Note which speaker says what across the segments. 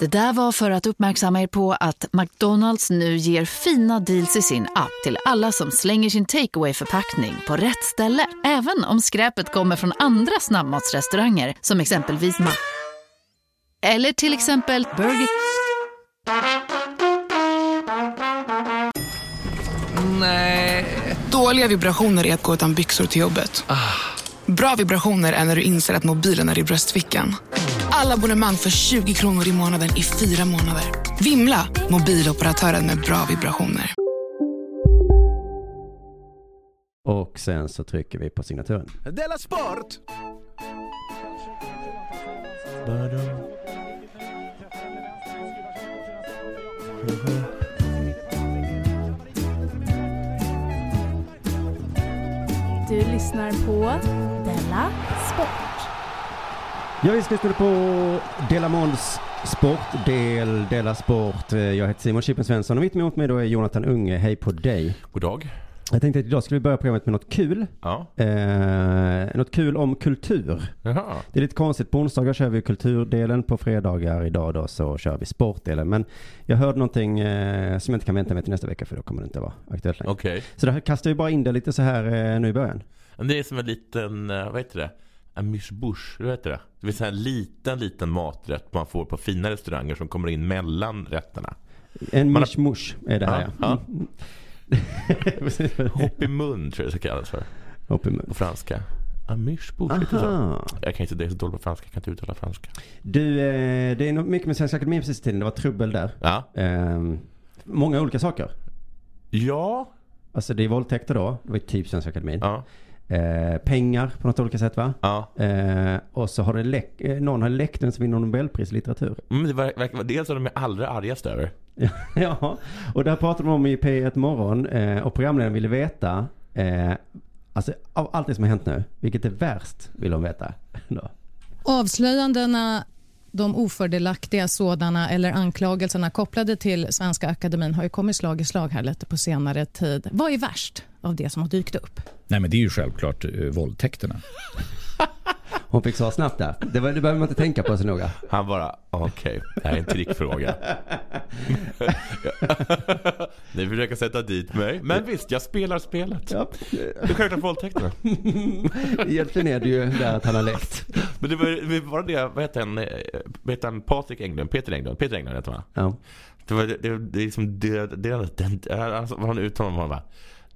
Speaker 1: Det där var för att uppmärksamma er på att McDonalds nu ger fina deals i sin app till alla som slänger sin takeaway förpackning på rätt ställe. Även om skräpet kommer från andra snabbmatsrestauranger som exempelvis Ma... Eller till exempel Burger...
Speaker 2: Dåliga vibrationer är att gå utan byxor till jobbet. Bra vibrationer är när du inser att mobilen är i bröstfickan. Alla abonnemang för 20 kronor i månaden i fyra månader. Vimla! Mobiloperatören med bra vibrationer.
Speaker 3: Och sen så trycker vi på signaturen.
Speaker 4: Della Sport!
Speaker 5: Du lyssnar på Della Sport.
Speaker 3: Ja, visst lyssnar du på Dela Måns sportdel, Dela Sport. Eh, Jag heter Simon Chippen Svensson och mitt emot mig då är Jonathan Unge. Hej på dig.
Speaker 4: God dag.
Speaker 3: Jag tänkte att idag skulle vi börja programmet med något kul.
Speaker 4: Ja.
Speaker 3: Eh, något kul om kultur.
Speaker 4: Jaha.
Speaker 3: Det är lite konstigt. På onsdagar kör vi kulturdelen. På fredagar idag då så kör vi sportdelen. Men jag hörde någonting eh, som jag inte kan vänta med till nästa vecka för då kommer det inte vara aktuellt längre.
Speaker 4: Okej.
Speaker 3: Så det här kastar vi bara in det lite så här eh, nu i början.
Speaker 4: Men Det är som en liten, eh, vad heter det? Amish bush, vad heter det? Det vill säga en liten, liten maträtt man får på fina restauranger som kommer in mellan rätterna.
Speaker 3: En
Speaker 4: Man har-
Speaker 3: mishmush är det här
Speaker 4: Ja,
Speaker 3: ja. Mm.
Speaker 4: Hopp i mun tror jag det ska kallas för.
Speaker 3: Hopp i mun.
Speaker 4: På franska. Amish bush, heter det så?
Speaker 3: Aha.
Speaker 4: Jag kan inte, det är så dåligt på franska, jag kan inte uttala franska.
Speaker 3: Du, eh, det är nog mycket med Svenska Akademien precis tiden. Det var trubbel där.
Speaker 4: Ja.
Speaker 3: Ehm, många olika saker.
Speaker 4: Ja.
Speaker 3: Alltså det är våldtäkter då. Det var ju typ Svenska Akademien.
Speaker 4: Ja.
Speaker 3: Eh, pengar på något olika sätt va?
Speaker 4: ja.
Speaker 3: Eh, och så har det läck, eh, någon har läckt en som vinner Nobelpris i litteratur.
Speaker 4: Men Mm, det verkar verkar vara dels vad de är allra argast över.
Speaker 3: ja, och det här pratade de om i P1 Morgon eh, och programledaren ville veta, eh, alltså av allt det som har hänt nu, vilket är värst vill de veta. Då.
Speaker 6: Avslöjandena, de ofördelaktiga sådana eller anklagelserna kopplade till Svenska Akademin har ju kommit slag i slag här lite på senare tid. Vad är värst av det som har dykt upp?
Speaker 7: Nej men det är ju självklart eh, våldtäkterna.
Speaker 3: Hon fick svara snabbt där. Det, var, det behöver man inte tänka på så noga.
Speaker 4: Han bara, okej, det här är en trickfråga. Ni försöker sätta dit mig. Men visst, jag spelar spelet.
Speaker 3: Ja,
Speaker 4: Det är självklart våldtäkterna.
Speaker 3: Eh, egentligen är det ju där att han har läckt.
Speaker 4: Men det var, det var det, vad heter han, eh, vad heter han Patrik Englund? Peter Englund? Peter Englund heter han va?
Speaker 3: Ja.
Speaker 4: Det var det, det, det är liksom det, det, den, alltså, han uttalade honom bara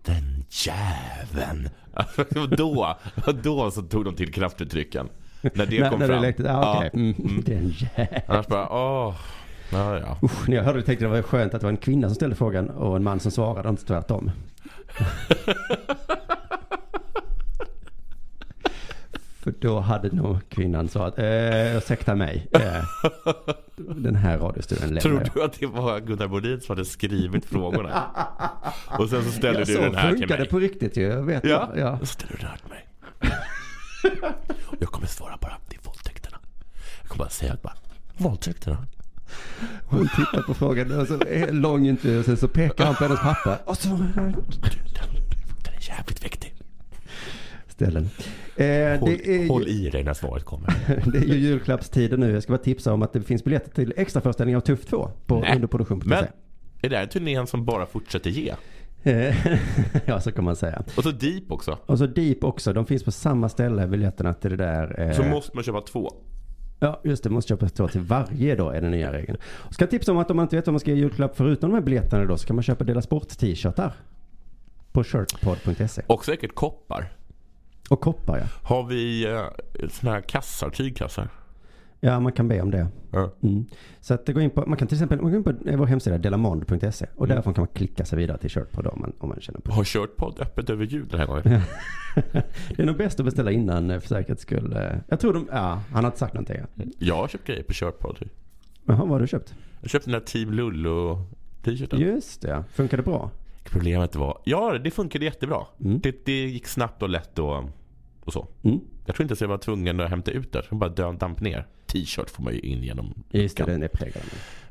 Speaker 4: Den jäveln. Alltså, det var då, det var då så tog de till kraftuttrycken. När det
Speaker 3: När-
Speaker 4: kom
Speaker 3: när det
Speaker 4: fram.
Speaker 3: läckte, ja, okej.
Speaker 4: Ja.
Speaker 3: Mm. Den jä-
Speaker 4: Annars bara, åh. Ja, ja.
Speaker 3: Usch, när jag hörde det tänkte jag det var skönt att det var en kvinna som ställde frågan och en man som svarade, inte tvärtom. För då hade nog kvinnan svarat, eh, ursäkta mig. Eh, den här radiostudion lämnar
Speaker 4: Tror
Speaker 3: jag.
Speaker 4: du att det var Gunnar Bodin som hade skrivit frågorna? Och sen så ställer
Speaker 3: Ja,
Speaker 4: du
Speaker 3: så
Speaker 4: den här till
Speaker 3: funkar det
Speaker 4: mig.
Speaker 3: på riktigt ju, jag vet.
Speaker 4: Ja.
Speaker 3: Ja.
Speaker 4: Så ställer du den här till mig. Och jag kommer svara bara, det är våldtäkterna. Jag kommer bara säga att bara, våldtäkterna.
Speaker 3: Hon tittar på frågan och så är lång intervju och sen så pekar han på hennes pappa. Och så
Speaker 4: Den är jävligt viktig.
Speaker 3: ställer den. eh,
Speaker 4: Håll,
Speaker 3: det är ju-
Speaker 4: håll i dig när svaret kommer.
Speaker 3: Det är ju julklappstider nu. Jag ska bara tipsa om att det finns biljetter till extraföreställningar av Tuff 2 på
Speaker 4: Nej,
Speaker 3: underproduktion.se.
Speaker 4: Men är det här turnén som bara fortsätter ge?
Speaker 3: Eh, ja, så kan man säga.
Speaker 4: Och så Deep också.
Speaker 3: Och så Deep också. De finns på samma ställe, biljetterna till det där. eh,
Speaker 4: Så måste man köpa två.
Speaker 3: Ja, just det. Måste köpa två till varje då är den nya regeln. Och ska jag tipsa om att om man inte vet vad man ska ge i julklapp förutom de här biljetterna då så kan man köpa Dela Sport-t-shirtar. På shirtpod.se.
Speaker 4: Och säkert koppar.
Speaker 3: E. Och koppar ja.
Speaker 4: Har vi eh, såna här kassar, tygkassar?
Speaker 3: Ja, man kan be om det.
Speaker 4: Ja.
Speaker 3: Mm. Så att det går in på, man kan till exempel man kan gå in på eh, vår hemsida delamond.se E. och
Speaker 4: Mm.
Speaker 3: därifrån kan man klicka sig vidare till shirtpod om man, om man känner på det.
Speaker 4: Har kört podd öppet över jul den här gången?
Speaker 3: Det är nog bäst att beställa innan eh, för säkerhets skull. Eh, Jag tror de, ja, han har inte sagt någonting.
Speaker 4: Jag har köpt grejer på Körpodd.
Speaker 3: Jaha, vad har du köpt?
Speaker 4: Jag köpte den här Team Lullo t-shirten.
Speaker 3: Just det, funkar det bra?
Speaker 4: Problemet var, ja det funkade jättebra.
Speaker 3: Mm.
Speaker 4: Det, det gick snabbt och lätt och, och och så.
Speaker 3: Mm.
Speaker 4: Jag tror inte ens jag var tvungen att hämta ut det. Jag bara dö- damp ner. T-shirt får man ju in genom
Speaker 3: Just det,
Speaker 4: luckan.
Speaker 3: den är präglad.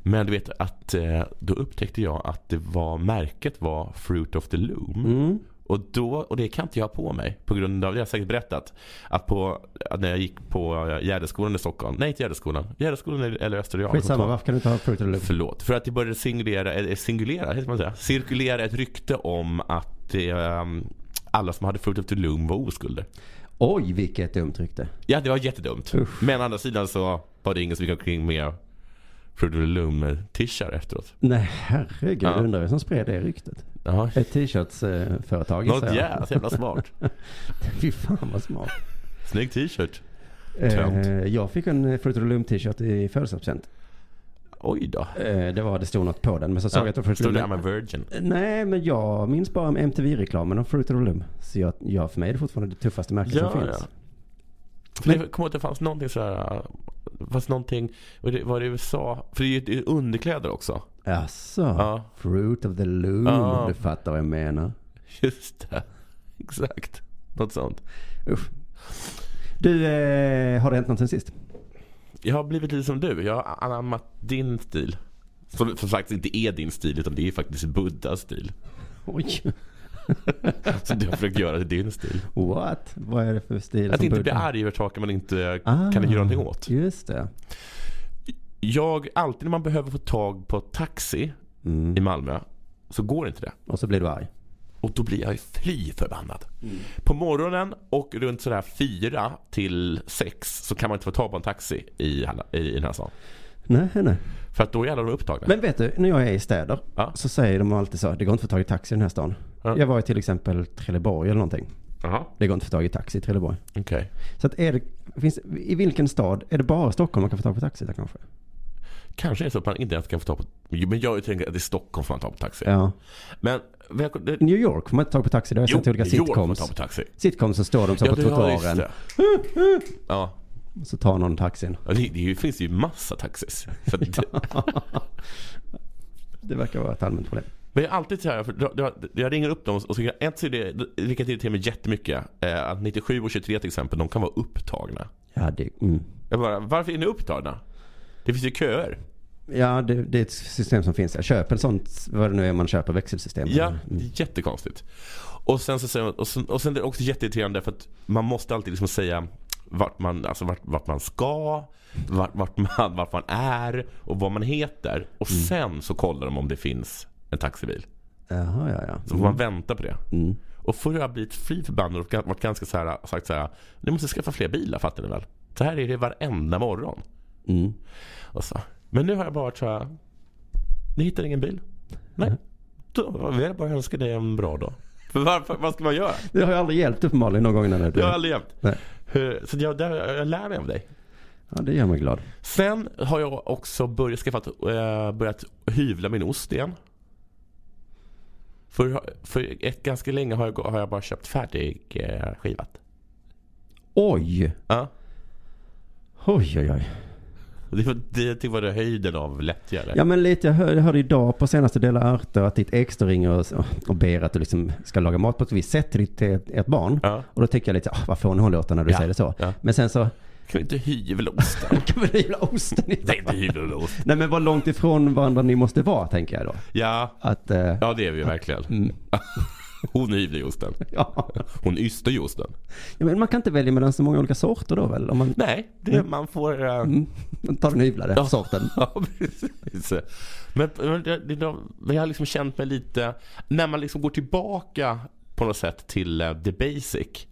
Speaker 4: Men du vet att eh, då upptäckte jag att det var, märket var Fruit of the Loom.
Speaker 3: Mm.
Speaker 4: Och, då, och det kan inte jag ha på mig på grund av, det har jag säkert berättat, att, på, att när jag gick på eh, Gärdeskolan i Stockholm, nej inte Gärdeskolan, Gärdeskolan eller- eller Österreal.
Speaker 3: Skitsamma, varför kan du inte ha Fruit of the Loop?
Speaker 4: Förlåt, för att det började singulera, eh, singulera heter man säga, cirkulera ett rykte om att eh, alla som hade Fruit of the Loom var oskulder.
Speaker 3: Oj, vilket dumt rykte.
Speaker 4: Ja, det var jättedumt. Men å andra sidan så var det ingen som gick omkring med Fruit of the Loom-t-shirt efteråt.
Speaker 3: Nej, herregud.
Speaker 4: Ja.
Speaker 3: Undrar vem som spred det ryktet.
Speaker 4: Ja.
Speaker 3: Ett t-shirtsföretag
Speaker 4: Något jävla så jävla smart.
Speaker 3: Fy fan vad smart.
Speaker 4: Snygg t-shirt. Tönt.
Speaker 3: Eh, jag fick en eh, Fruit of the Loom t-shirt i födelsedagspresent.
Speaker 4: Oj då.
Speaker 3: Eh, det var, det stod något på den. Men så såg jag att det var Fruit of
Speaker 4: Stod
Speaker 3: the
Speaker 4: det I'm
Speaker 3: Loom.
Speaker 4: a virgin?
Speaker 3: Eh, Nej, men jag minns bara om MTV-reklamen om Fruit of the Loom. Så jag, ja, för mig är det fortfarande det tuffaste märket
Speaker 4: Ja,
Speaker 3: som
Speaker 4: ja.
Speaker 3: finns.
Speaker 4: För jag kommer ihåg att det fanns någonting sådär. Fast någonting. och det- Var det USA? För det är ju det är ju underkläder också.
Speaker 3: Jaså?
Speaker 4: Ja.
Speaker 3: Fruit of the Loom,
Speaker 4: Ja.
Speaker 3: om du fattar vad jag menar.
Speaker 4: Just det. Exakt. Något sånt.
Speaker 3: Usch. Du, eh, har det hänt något sen sist?
Speaker 4: Jag har blivit lite som du. Jag har anammat din stil. Som, som faktiskt inte är din stil utan det är faktiskt Buddhas stil.
Speaker 3: Oj,
Speaker 4: Så du har försökt göra det till din stil.
Speaker 3: what? Vad är det för stil
Speaker 4: Att
Speaker 3: som
Speaker 4: inte
Speaker 3: Buddha-
Speaker 4: bli arg över saker man inte
Speaker 3: Ah,
Speaker 4: kan göra någonting åt.
Speaker 3: Just det.
Speaker 4: Jag, alltid när man behöver få tag på taxi
Speaker 3: Mm.
Speaker 4: i Malmö så går inte det.
Speaker 3: Och så blir du arg.
Speaker 4: Och då blir jag ju fly förbannad. På morgonen och runt sådär fyra till sex så kan man inte få tag på en taxi i, alla- i den här stan.
Speaker 3: Nej, nej.
Speaker 4: För att då är alla de upptagna.
Speaker 3: Men vet du, när jag är i städer
Speaker 4: Ja.
Speaker 3: så säger de alltid så. Det går inte att få tag i taxi i den här stan.
Speaker 4: Ja.
Speaker 3: Jag var i till exempel Trelleborg eller någonting.
Speaker 4: Jaha,
Speaker 3: Det går inte att få tag i taxi i Trelleborg.
Speaker 4: okej.
Speaker 3: Så att är det, finns, i vilken stad, är det bara Stockholm man kan få tag på taxi där kanske?
Speaker 4: Kanske är det så att man inte ens kan få tag på... Jo, Men jag tänker att det är Stockholm som man tar på taxi.
Speaker 3: Ja.
Speaker 4: Men... välkom- det-
Speaker 3: New York får man inte tag på taxi. Där har jag sett olika
Speaker 4: i år får man
Speaker 3: sitcoms.
Speaker 4: ta på taxi.
Speaker 3: Sitcoms så står de så på
Speaker 4: det- just
Speaker 3: trottoaren.
Speaker 4: det. Ja,
Speaker 3: och Så tar någon taxin.
Speaker 4: Ja, det, det finns ju massa taxis. Så att,
Speaker 3: Det verkar vara ett allmänt problem.
Speaker 4: Men jag är alltid så här, för jag- jag, jag ringer upp dem och så ett så är det, vilket irriterar mig jättemycket, eh, att 97 och 23 till exempel, de kan vara upptagna.
Speaker 3: Ja, det, mm.
Speaker 4: Jag bara, varför är ni upptagna? Det finns ju köer.
Speaker 3: ja det, det är ett system som finns. Jag köper en sån, vad det nu är man köper, växelsystem.
Speaker 4: Ja, det är jättekonstigt. Och sen, så säger man, och sen, och sen är det också jätteirriterande för att man måste alltid liksom säga vart man, alltså vart, vart man ska, vart, vart, man, vart man är och vad man heter. Och sen så kollar de om det finns en taxibil.
Speaker 3: Jaha, ja, ja.
Speaker 4: Så får man vänta på det.
Speaker 3: Mm.
Speaker 4: Och förr har jag blivit fri förbannad och varit ganska så här, sagt så här. Ni måste skaffa fler bilar fattar ni väl? Så här är det varenda morgon.
Speaker 3: Mm.
Speaker 4: Och så. Men nu har jag bara varit så här. Ni hittar ingen bil? Nej.
Speaker 3: Mm.
Speaker 4: Då vill jag bara önska dig en bra dag. För varför, vad ska man göra?
Speaker 3: Det har ju aldrig hjälpt uppenbarligen någon gång. När det,
Speaker 4: Det har jag aldrig jämt.
Speaker 3: Nej.
Speaker 4: Hur- Så jag, där, jag lär mig av dig.
Speaker 3: Ja, det gör mig glad.
Speaker 4: Sen har jag också börjat, skaffat, eh, börjat hyvla min ost igen. För, för ett, ganska länge har jag, har jag bara köpt färdig eh, skivat.
Speaker 3: Oj!
Speaker 4: Ja.
Speaker 3: Oj, oj, oj.
Speaker 4: Det, var, det jag tyckte var det höjden av lättja. där.
Speaker 3: Ja, men lite. Jag hör- jag hörde idag på senaste Dela Arte att ditt ex då ringer och, och ber att du liksom ska laga mat på ett visst sätt till ditt, till ert barn.
Speaker 4: Ja.
Speaker 3: Och då tycker jag lite, ah, vad fånig hon låter när du
Speaker 4: Ja,
Speaker 3: säger det så.
Speaker 4: ja.
Speaker 3: Men sen så,
Speaker 4: Kan vi inte hyvla osten?
Speaker 3: kan vi hyvla osten i
Speaker 4: Nej, inte hyvla ost.
Speaker 3: Nej, men vad långt ifrån varandra ni måste vara, tänker jag då.
Speaker 4: Ja, Mm.
Speaker 3: Att, eh,
Speaker 4: ja det är vi ju verkligen. Hon hyvlar ju osten.
Speaker 3: ja.
Speaker 4: Hon ystar ju osten.
Speaker 3: ja. Men man kan inte välja mellan så många olika sorter då väl? Om man
Speaker 4: Nej, det, man får... eh,
Speaker 3: man tar den hyvlade
Speaker 4: Ja.
Speaker 3: sorten.
Speaker 4: Ja, precis. Men, men, det, det, det- men jag har liksom känt mig lite... När man liksom går tillbaka på något sätt till eh, the basic.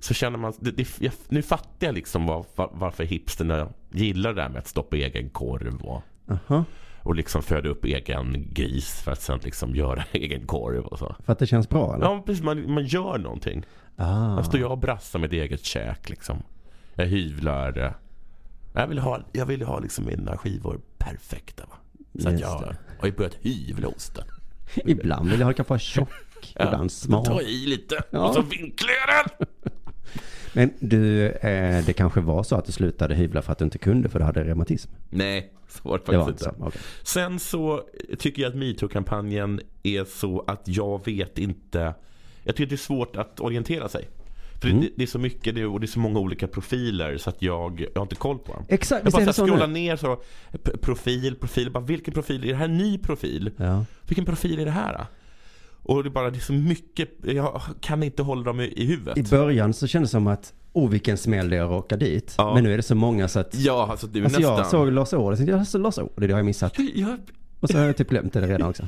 Speaker 4: Så känner man... Det, det, jag, nu fattar jag liksom var, var, varför hipsterna gillar det där med att stoppa egen korv och,
Speaker 3: Aha.
Speaker 4: och liksom föda upp egen gris för att sen liksom göra egen korv och så.
Speaker 3: För att det känns bra eller?
Speaker 4: Ja, men precis. Man, man gör någonting.
Speaker 3: Ah.
Speaker 4: Här står jag och brassar mitt eget käk liksom. Jag hyvlar. eh, Jag vill ha, jag vill ha liksom mina skivor perfekta. Va? Så att
Speaker 3: Just
Speaker 4: jag har
Speaker 3: det.
Speaker 4: har ju börjat hyvla osten.
Speaker 3: Ibland vill jag ha kanske ha tjock, ibland
Speaker 4: Då tar
Speaker 3: smal.
Speaker 4: jag i lite
Speaker 3: Ja.
Speaker 4: och så vinklar jag den.
Speaker 3: Men du, eh, det kanske var så att du slutade hyvla för att du inte kunde för du hade reumatism?
Speaker 4: Nej, så var det
Speaker 3: Det
Speaker 4: faktiskt
Speaker 3: var inte
Speaker 4: inte.
Speaker 3: så? Okej.
Speaker 4: Sen så tycker jag att metoo-kampanjen är så att jag vet inte. Jag tycker att det är svårt att orientera sig. För För
Speaker 3: Mm.
Speaker 4: det, det är så mycket det, och det är så många olika profiler så att jag, jag har inte koll på dem.
Speaker 3: Exakt,
Speaker 4: jag
Speaker 3: visst är
Speaker 4: bara
Speaker 3: det
Speaker 4: så
Speaker 3: så
Speaker 4: här,
Speaker 3: nu?
Speaker 4: scrollar ner så, p- profil, profil, bara vilken profil, är det här en ny profil?
Speaker 3: Ja.
Speaker 4: Vilken profil är det här? då? Och det är bara, det är så mycket, jag kan inte hålla dem i, i huvudet.
Speaker 3: I början så kändes det som att, oh vilken smäll det jag råkar dit. Men nu är det så många så att,
Speaker 4: ja, alltså du är
Speaker 3: alltså
Speaker 4: nästan.
Speaker 3: jag såg Lars Ohly och tänkte, ja, alltså Lars Ohly, det har jag missat.
Speaker 4: Jag,
Speaker 3: Och så har jag typ glömt det redan också.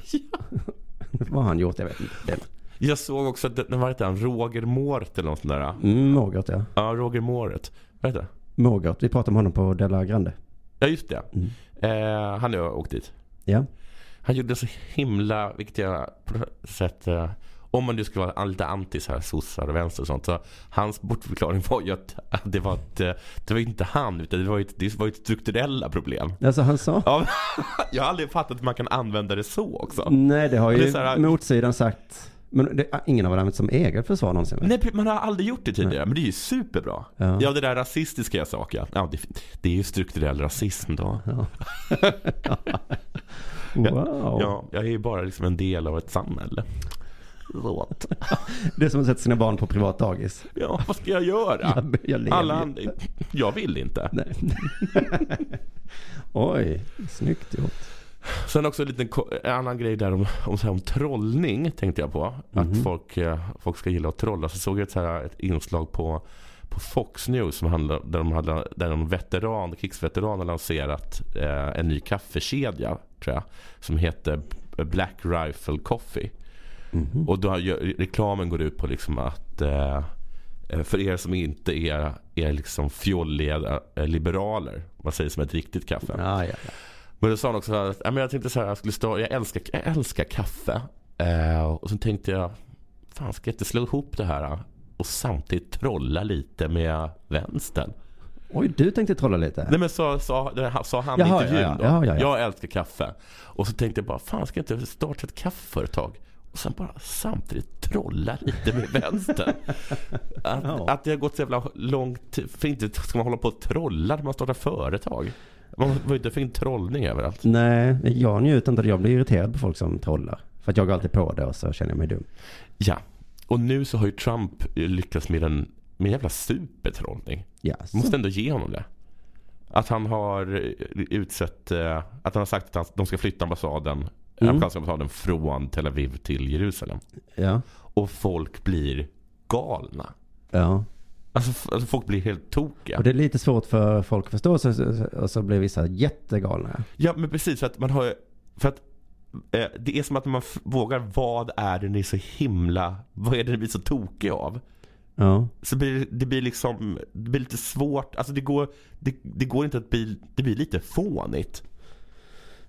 Speaker 3: Vad har han gjort? Jag vet inte. Det-
Speaker 4: jag såg också att, det- vad hette han, Roger Måret eller något sånt där.
Speaker 3: Mm, Mogert ja.
Speaker 4: Ja, Roger Måret. Vad heter det?
Speaker 3: Mogert, vi pratade om honom på Della Grande.
Speaker 4: Ja, just det.
Speaker 3: Mm.
Speaker 4: Eh, han har jag åkt dit.
Speaker 3: Ja.
Speaker 4: Han gjorde så himla, vilket jag på något sätt, eh, om man nu skulle vara lite anti så här sossar och vänster och sånt. Så hans bortförklaring var ju att, att det var ett, eh, det var inte han utan det var ju ett, det var ju ett strukturella problem.
Speaker 3: Alltså han sa?
Speaker 4: Ja, jag har aldrig fattat att man kan använda det så också.
Speaker 3: Nej, det har ju
Speaker 4: Det är så här-
Speaker 3: motsidan sagt. Men det, ah, ingen har väl använt som eget försvar någonsin? väl?
Speaker 4: Nej, man har aldrig gjort det tidigare, men det är ju superbra.
Speaker 3: Ja.
Speaker 4: Ja, det där rasistiska jag sa, ja. ja det, det är ju strukturell rasism då.
Speaker 3: Ja. Wow.
Speaker 4: Ja, jag är ju bara liksom en del av ett samhälle. Låt.
Speaker 3: Det är som att sätta sina barn på privat dagis.
Speaker 4: Ja, vad ska jag göra?
Speaker 3: Jag, jag lever
Speaker 4: Alla
Speaker 3: ju.
Speaker 4: andra, jag vill inte.
Speaker 3: Nej. Oj, snyggt gjort.
Speaker 4: Sen också en liten ko- en annan grej där om, om, så här, om trollning tänkte jag på. Att folk, eh, folk ska gilla att trolla. Så såg jag ett, så här, ett inslag på, på Fox News som handlade, där de hade där en veteran, krigsveteran har lanserat eh, en ny kaffekedja tror jag. Som heter Black Rifle Coffee. Och då har, ju- reklamen går ut på liksom att eh, eh, för er som inte är, är liksom fjolliga eh, liberaler. Man säger som ett riktigt kaffe.
Speaker 3: Ja, ja, ja.
Speaker 4: Men då sa han också så här, att, "Ja, men jag tänkte så här, jag, skulle stå, jag, älskar, jag älskar kaffe. Eh, och så tänkte jag, fan ska jag inte slå ihop det här eh, och samtidigt trolla lite med vänstern?
Speaker 3: Oj, du tänkte trolla lite?
Speaker 4: Nej men sa, sa, det här- sa han i
Speaker 3: Jaha,
Speaker 4: intervjun
Speaker 3: ja, ja.
Speaker 4: då.
Speaker 3: Ja, ja, ja.
Speaker 4: Jag älskar kaffe. Och så tänkte jag bara, fan ska jag inte starta ett kaffeföretag? Och sen bara samtidigt trolla lite med vänstern. Att,
Speaker 3: Ja.
Speaker 4: att det har gått så jävla långt. För inte ska man hålla på och trolla när man startar företag. Man var ju inte för en trollning överallt.
Speaker 3: Nej, jag njuter inte. Jag blir irriterad på folk som trollar. För att jag går alltid på det och så känner jag mig dum.
Speaker 4: Ja. Och nu så har ju Trump eh, lyckats med en, med en jävla supertrollning.
Speaker 3: Ja,
Speaker 4: Jag måste ändå ge honom det. Att han har eh, utsett, eh, att han har sagt att han, de ska flytta ambassaden,
Speaker 3: Mm.
Speaker 4: amerikanska ambassaden från Tel Aviv till Jerusalem.
Speaker 3: ja,
Speaker 4: Och folk blir galna.
Speaker 3: ja.
Speaker 4: Alltså, f- alltså folk blir helt tokiga.
Speaker 3: Och det är lite svårt för folk att förstå så, så, så- och så blir vissa jättegalna.
Speaker 4: Ja men precis, för att man har ju- för att eh, det är som att man f- vågar, vad är det ni är så himla, vad är det ni blir så tokiga av?
Speaker 3: Ja,
Speaker 4: Så blir, det blir liksom, det blir lite svårt, alltså det går, det, det går inte att bli, det blir lite fånigt.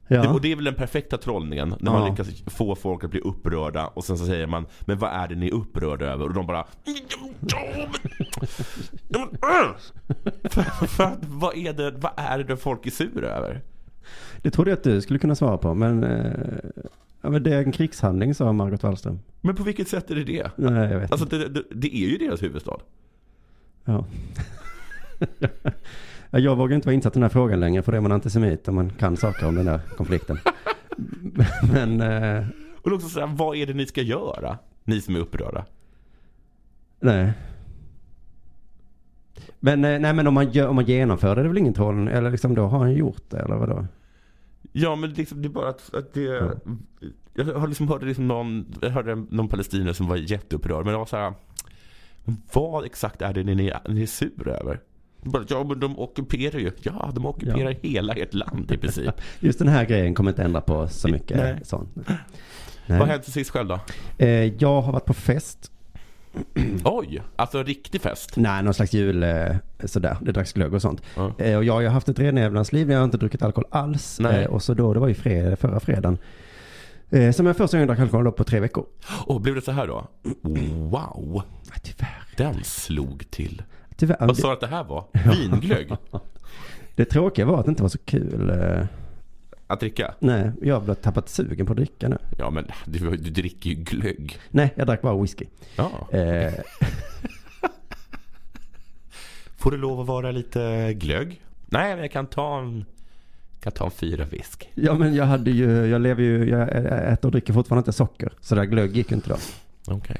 Speaker 4: Det,
Speaker 3: ja.
Speaker 4: och det är väl den perfekta trollningen, när
Speaker 3: Ja.
Speaker 4: man lyckas få folk att bli upprörda och sen så säger man Men vad är det ni är upprörda över? Och de bara "Ja, men- ja, men, äh." för, för att vad är det, vad är det folk är sura över?
Speaker 3: det trodde jag att du skulle kunna svara på. Men, eh, ja, men det är en krigshandling sa Margot Wallström.
Speaker 4: Men på vilket sätt är det det?
Speaker 3: Nej, jag vet
Speaker 4: Alltså det, det, det är ju deras huvudstad.
Speaker 3: Ja. Ja, jag vågar inte vara insatt i den här frågan längre för då är man antisemit om man kan saker om den där konflikten. Men eh,
Speaker 4: Och också säga, vad är det ni ska göra? Ni som är upprörda.
Speaker 3: nej. Men, eh, nej, men om, man gör, om man genomför det, det är väl ingen troll? Eller liksom då har han gjort det eller vadå?
Speaker 4: Ja men liksom, det är bara att, att det... Jag har liksom hörde liksom någon, jag hörde någon palestinier som var jätteupprörd. Men det var så här. Vad exakt är det ni, ni, ni är sura över? Bara, ja men de ockuperar ju. Ja de ockuperar hela ert land i princip.
Speaker 3: Just den här grejen kommer inte ändra på så mycket
Speaker 4: Nej.
Speaker 3: sånt.
Speaker 4: Vad
Speaker 3: Nej.
Speaker 4: hände till sist själv då?
Speaker 3: Eh, jag har varit på fest.
Speaker 4: Oj! Alltså riktig fest.
Speaker 3: Nej, någon slags jul eh, sådär. Det dracks glögg och sånt.
Speaker 4: Ja.
Speaker 3: Eh, och jag har ju haft ett renävlansliv när jag har inte druckit alkohol alls.
Speaker 4: Nej.
Speaker 3: Eh, och så då, det var ju fredag, förra fredagen. Eh, som jag första gången drack alkohol då på tre veckor.
Speaker 4: Och blev det så här då? Wow!
Speaker 3: Ja, Tyvärr.
Speaker 4: Den slog till.
Speaker 3: Tyvärr.
Speaker 4: Vad
Speaker 3: Det,
Speaker 4: sa du att det här var? Vinglögg?
Speaker 3: det tråkiga var att det inte var så kul. Eh,
Speaker 4: Att dricka?
Speaker 3: nej, jag har bara tappat sugen på att dricka nu.
Speaker 4: Ja men du, du dricker ju glögg.
Speaker 3: Nej, jag drack bara whisky.
Speaker 4: Ja.
Speaker 3: Eh,
Speaker 4: Får det lov att vara lite glögg? Nej, men jag kan ta en, kan ta en fyra visk.
Speaker 3: ja, men jag hade ju, jag lever ju, jag äter och dricker fortfarande inte socker. Så där glögg gick ju inte då.
Speaker 4: Okej.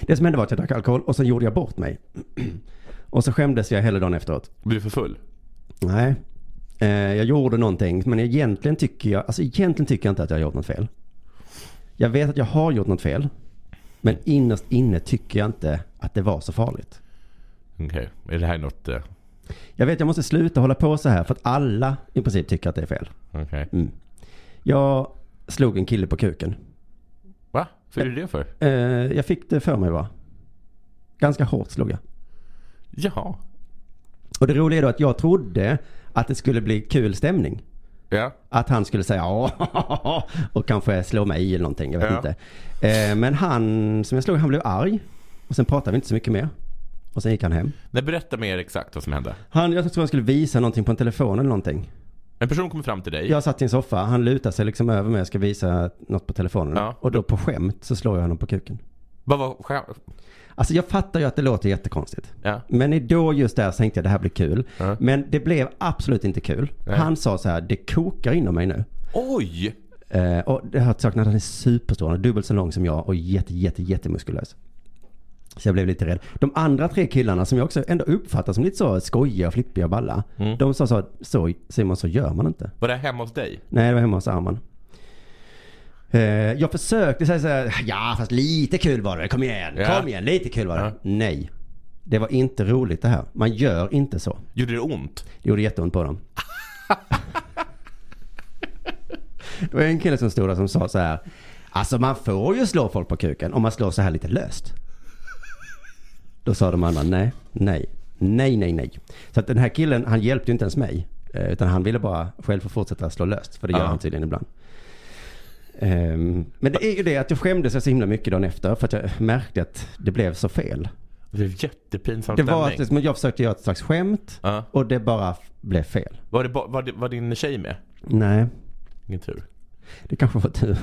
Speaker 3: Det som hände var att jag drack alkohol och sen gjorde jag bort mig. Och så skämdes jag hela dagen efteråt.
Speaker 4: Blev du för full?
Speaker 3: Nej. Eh, jag gjorde någonting, men egentligen tycker jag, alltså egentligen tycker jag inte att jag har gjort något fel. Jag vet att jag har gjort något fel. Men innerst inne tycker jag inte att det var så farligt.
Speaker 4: Okej, är det här något... eh,
Speaker 3: Jag vet jag måste sluta hålla på så här för att alla i princip tycker att det är fel.
Speaker 4: Okej.
Speaker 3: Mm. Jag slog en kille på kuken.
Speaker 4: Va? Vad är det det för?
Speaker 3: Eh, jag fick det för mig va? Ganska hårt slog jag.
Speaker 4: Jaha.
Speaker 3: Och det roliga är då att jag trodde att det skulle bli kul stämning.
Speaker 4: Ja.
Speaker 3: Att han skulle säga ja och kanske slå mig eller någonting. Jag vet
Speaker 4: Ja.
Speaker 3: inte. Eh, men han som jag slog, han blev arg. Och sen pratade vi inte så mycket mer. Och sen gick han hem.
Speaker 4: Nej, berätta mer exakt vad som hände.
Speaker 3: Han, jag tror han skulle visa någonting på en telefon eller någonting.
Speaker 4: En person kommer fram till dig.
Speaker 3: Jag satt i en soffa, han lutar sig liksom över mig och ska visa något på telefonen.
Speaker 4: Ja.
Speaker 3: Och då på skämt så slår jag honom på kuken.
Speaker 4: Vad var skä-
Speaker 3: Alltså jag fattar ju att det låter jättekonstigt.
Speaker 4: Ja.
Speaker 3: Men i- då just där så tänkte jag det här blir kul.
Speaker 4: Ja.
Speaker 3: Men det blev absolut inte kul.
Speaker 4: Nej.
Speaker 3: Han sa så här, det kokar inom mig nu.
Speaker 4: Oj!
Speaker 3: Eh, och det har saknat, han är superstor, han är dubbelt så lång som jag och jätte, jätte, jättemuskulös. Så jag blev lite rädd. De andra tre killarna som jag också ändå uppfattar som lite så skojiga och flippiga och balla.
Speaker 4: Mm.
Speaker 3: De sa så, här, så Simon så gör man inte.
Speaker 4: Var det här hemma hos dig?
Speaker 3: Nej, det var hemma hos Arman. Eh, jag försökte säga så här, ja fast lite kul var det, kom igen,
Speaker 4: Ja.
Speaker 3: kom igen, lite kul var det. Nej, det var inte roligt det här. Man gör inte så.
Speaker 4: Gjorde det ont?
Speaker 3: Det gjorde jätteont på dem. det var en kille som stod där som sa så här, alltså man får ju slå folk på kuken om man slår så här lite löst. Då sa de andra nej, nej, nej, nej, nej. Så att den här killen, han hjälpte ju inte ens mig. eh, Utan han ville bara själv få fortsätta slå löst. För det gör
Speaker 4: Ja.
Speaker 3: han tydligen ibland. Ehm, men det är ju det att jag skämdes så himla mycket dagen efter. För att jag märkte att det blev så fel.
Speaker 4: Det blev jättepinsam
Speaker 3: Det
Speaker 4: stämning.
Speaker 3: var att liksom, jag försökte göra ett slags skämt.
Speaker 4: Ja.
Speaker 3: Och det bara f- blev fel.
Speaker 4: Var, det, ba- var, det, var din tjej med?
Speaker 3: Nej,
Speaker 4: Ingen tur.
Speaker 3: det kanske var tur.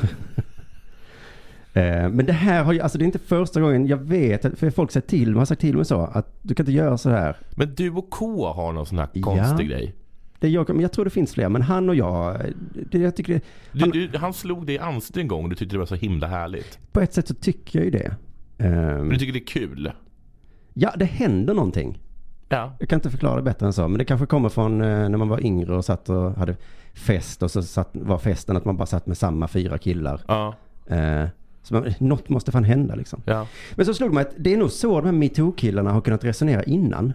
Speaker 3: Eh, Men det här har ju, alltså det är inte första gången jag vet, att- för folk säger till mig, har sagt till mig så, att du kan inte göra så här.
Speaker 4: Men du och K har någon sån här
Speaker 3: Ja.
Speaker 4: konstig grej.
Speaker 3: Det jag, men jag tror det finns fler, men han och jag, det, jag tycker det,
Speaker 4: Du,
Speaker 3: han,
Speaker 4: du, han slog dig i ansiktet en gång och du tyckte det var så himla härligt.
Speaker 3: på ett sätt så tycker jag ju det.
Speaker 4: Men
Speaker 3: Eh,
Speaker 4: du tycker det är kul?
Speaker 3: Ja, det händer någonting.
Speaker 4: Ja.
Speaker 3: Jag kan inte förklara det bättre än så, men det kanske kommer från eh, när man var yngre och satt och hade fest och så satt, var festen att man bara satt med samma fyra killar.
Speaker 4: Ja.
Speaker 3: Eh, Så man, något måste fan hända liksom.
Speaker 4: ja.
Speaker 3: Men så slog det mig att det är nog så de här metoo-killarna har kunnat resonera innan.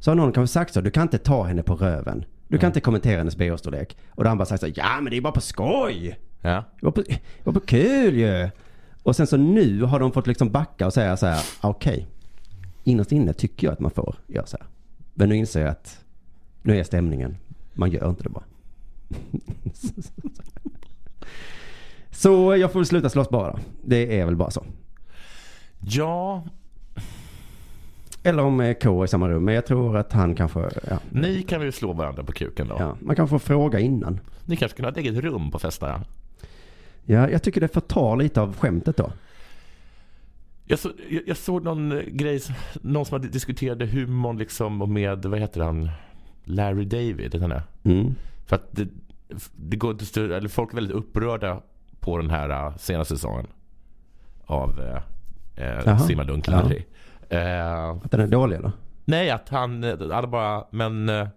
Speaker 3: Så har någon kanske sagt så, du kan inte ta henne på röven. Du kan inte kommentera hennes bh-storlek. Och då har han bara sagt så, ja men det är bara på skoj!
Speaker 4: ja.
Speaker 3: Det var på, det var på kul ju! Och sen så nu har de fått liksom backa och säga så här, "Ah, okej. innerst inne tycker jag att man får göra så här. Men nu inser jag att nu är stämningen, man gör inte det bara. så jag får väl sluta slåss bara. då. Det är väl bara så.
Speaker 4: Ja.
Speaker 3: Eller om eh, K är i samma rum. Men jag tror att han kanske... Ja,
Speaker 4: Ni kan väl slå varandra på kuken då?
Speaker 3: ja. Man kan få fråga innan.
Speaker 4: Ni kanske kunde ha ett eget rum på festerna?
Speaker 3: Ja, jag tycker det förtar lite av skämtet då.
Speaker 4: Jag, så, jag, jag såg någon eh, grej, som- någon som hade diskuterade humorn liksom och med, vad heter han, Larry David, heter han det?
Speaker 3: Mm.
Speaker 4: För att det, det går inte större, eller folk är väldigt upprörda på den här eh, senaste säsongen av eh, eh,
Speaker 3: Jaha.
Speaker 4: Simardunk Larry. Eh,
Speaker 3: Att den är dålig eller?
Speaker 4: nej, att han, eh, alla bara, men eh,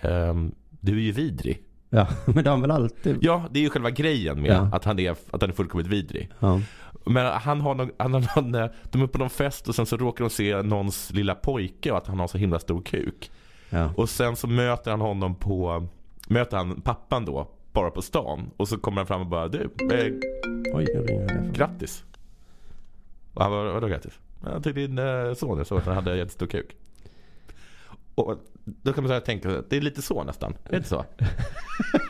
Speaker 4: ehm, du är ju vidrig.
Speaker 3: Ja, men det har han väl alltid...
Speaker 4: Ja, det är ju själva grejen med
Speaker 3: Ja.
Speaker 4: att, han är, att han är fullkomligt vidrig.
Speaker 3: Ja.
Speaker 4: Men han har någon, han har någon, eh, de är på någon fest och sen så råkar de se någons lilla pojke och att han har så himla stor kuk.
Speaker 3: Ja.
Speaker 4: Och sen så möter han honom på, möter han pappan då, bara på stan. Och så kommer han fram och bara du, eh,
Speaker 3: Oj, nu ringer det därifrån.
Speaker 4: grattis. Och han bara, vadå grattis? Ja, till din eh, son, jag såg att han hade jättestor kuk. Och då kan man så här tänka, det är lite så nästan. Är det inte så?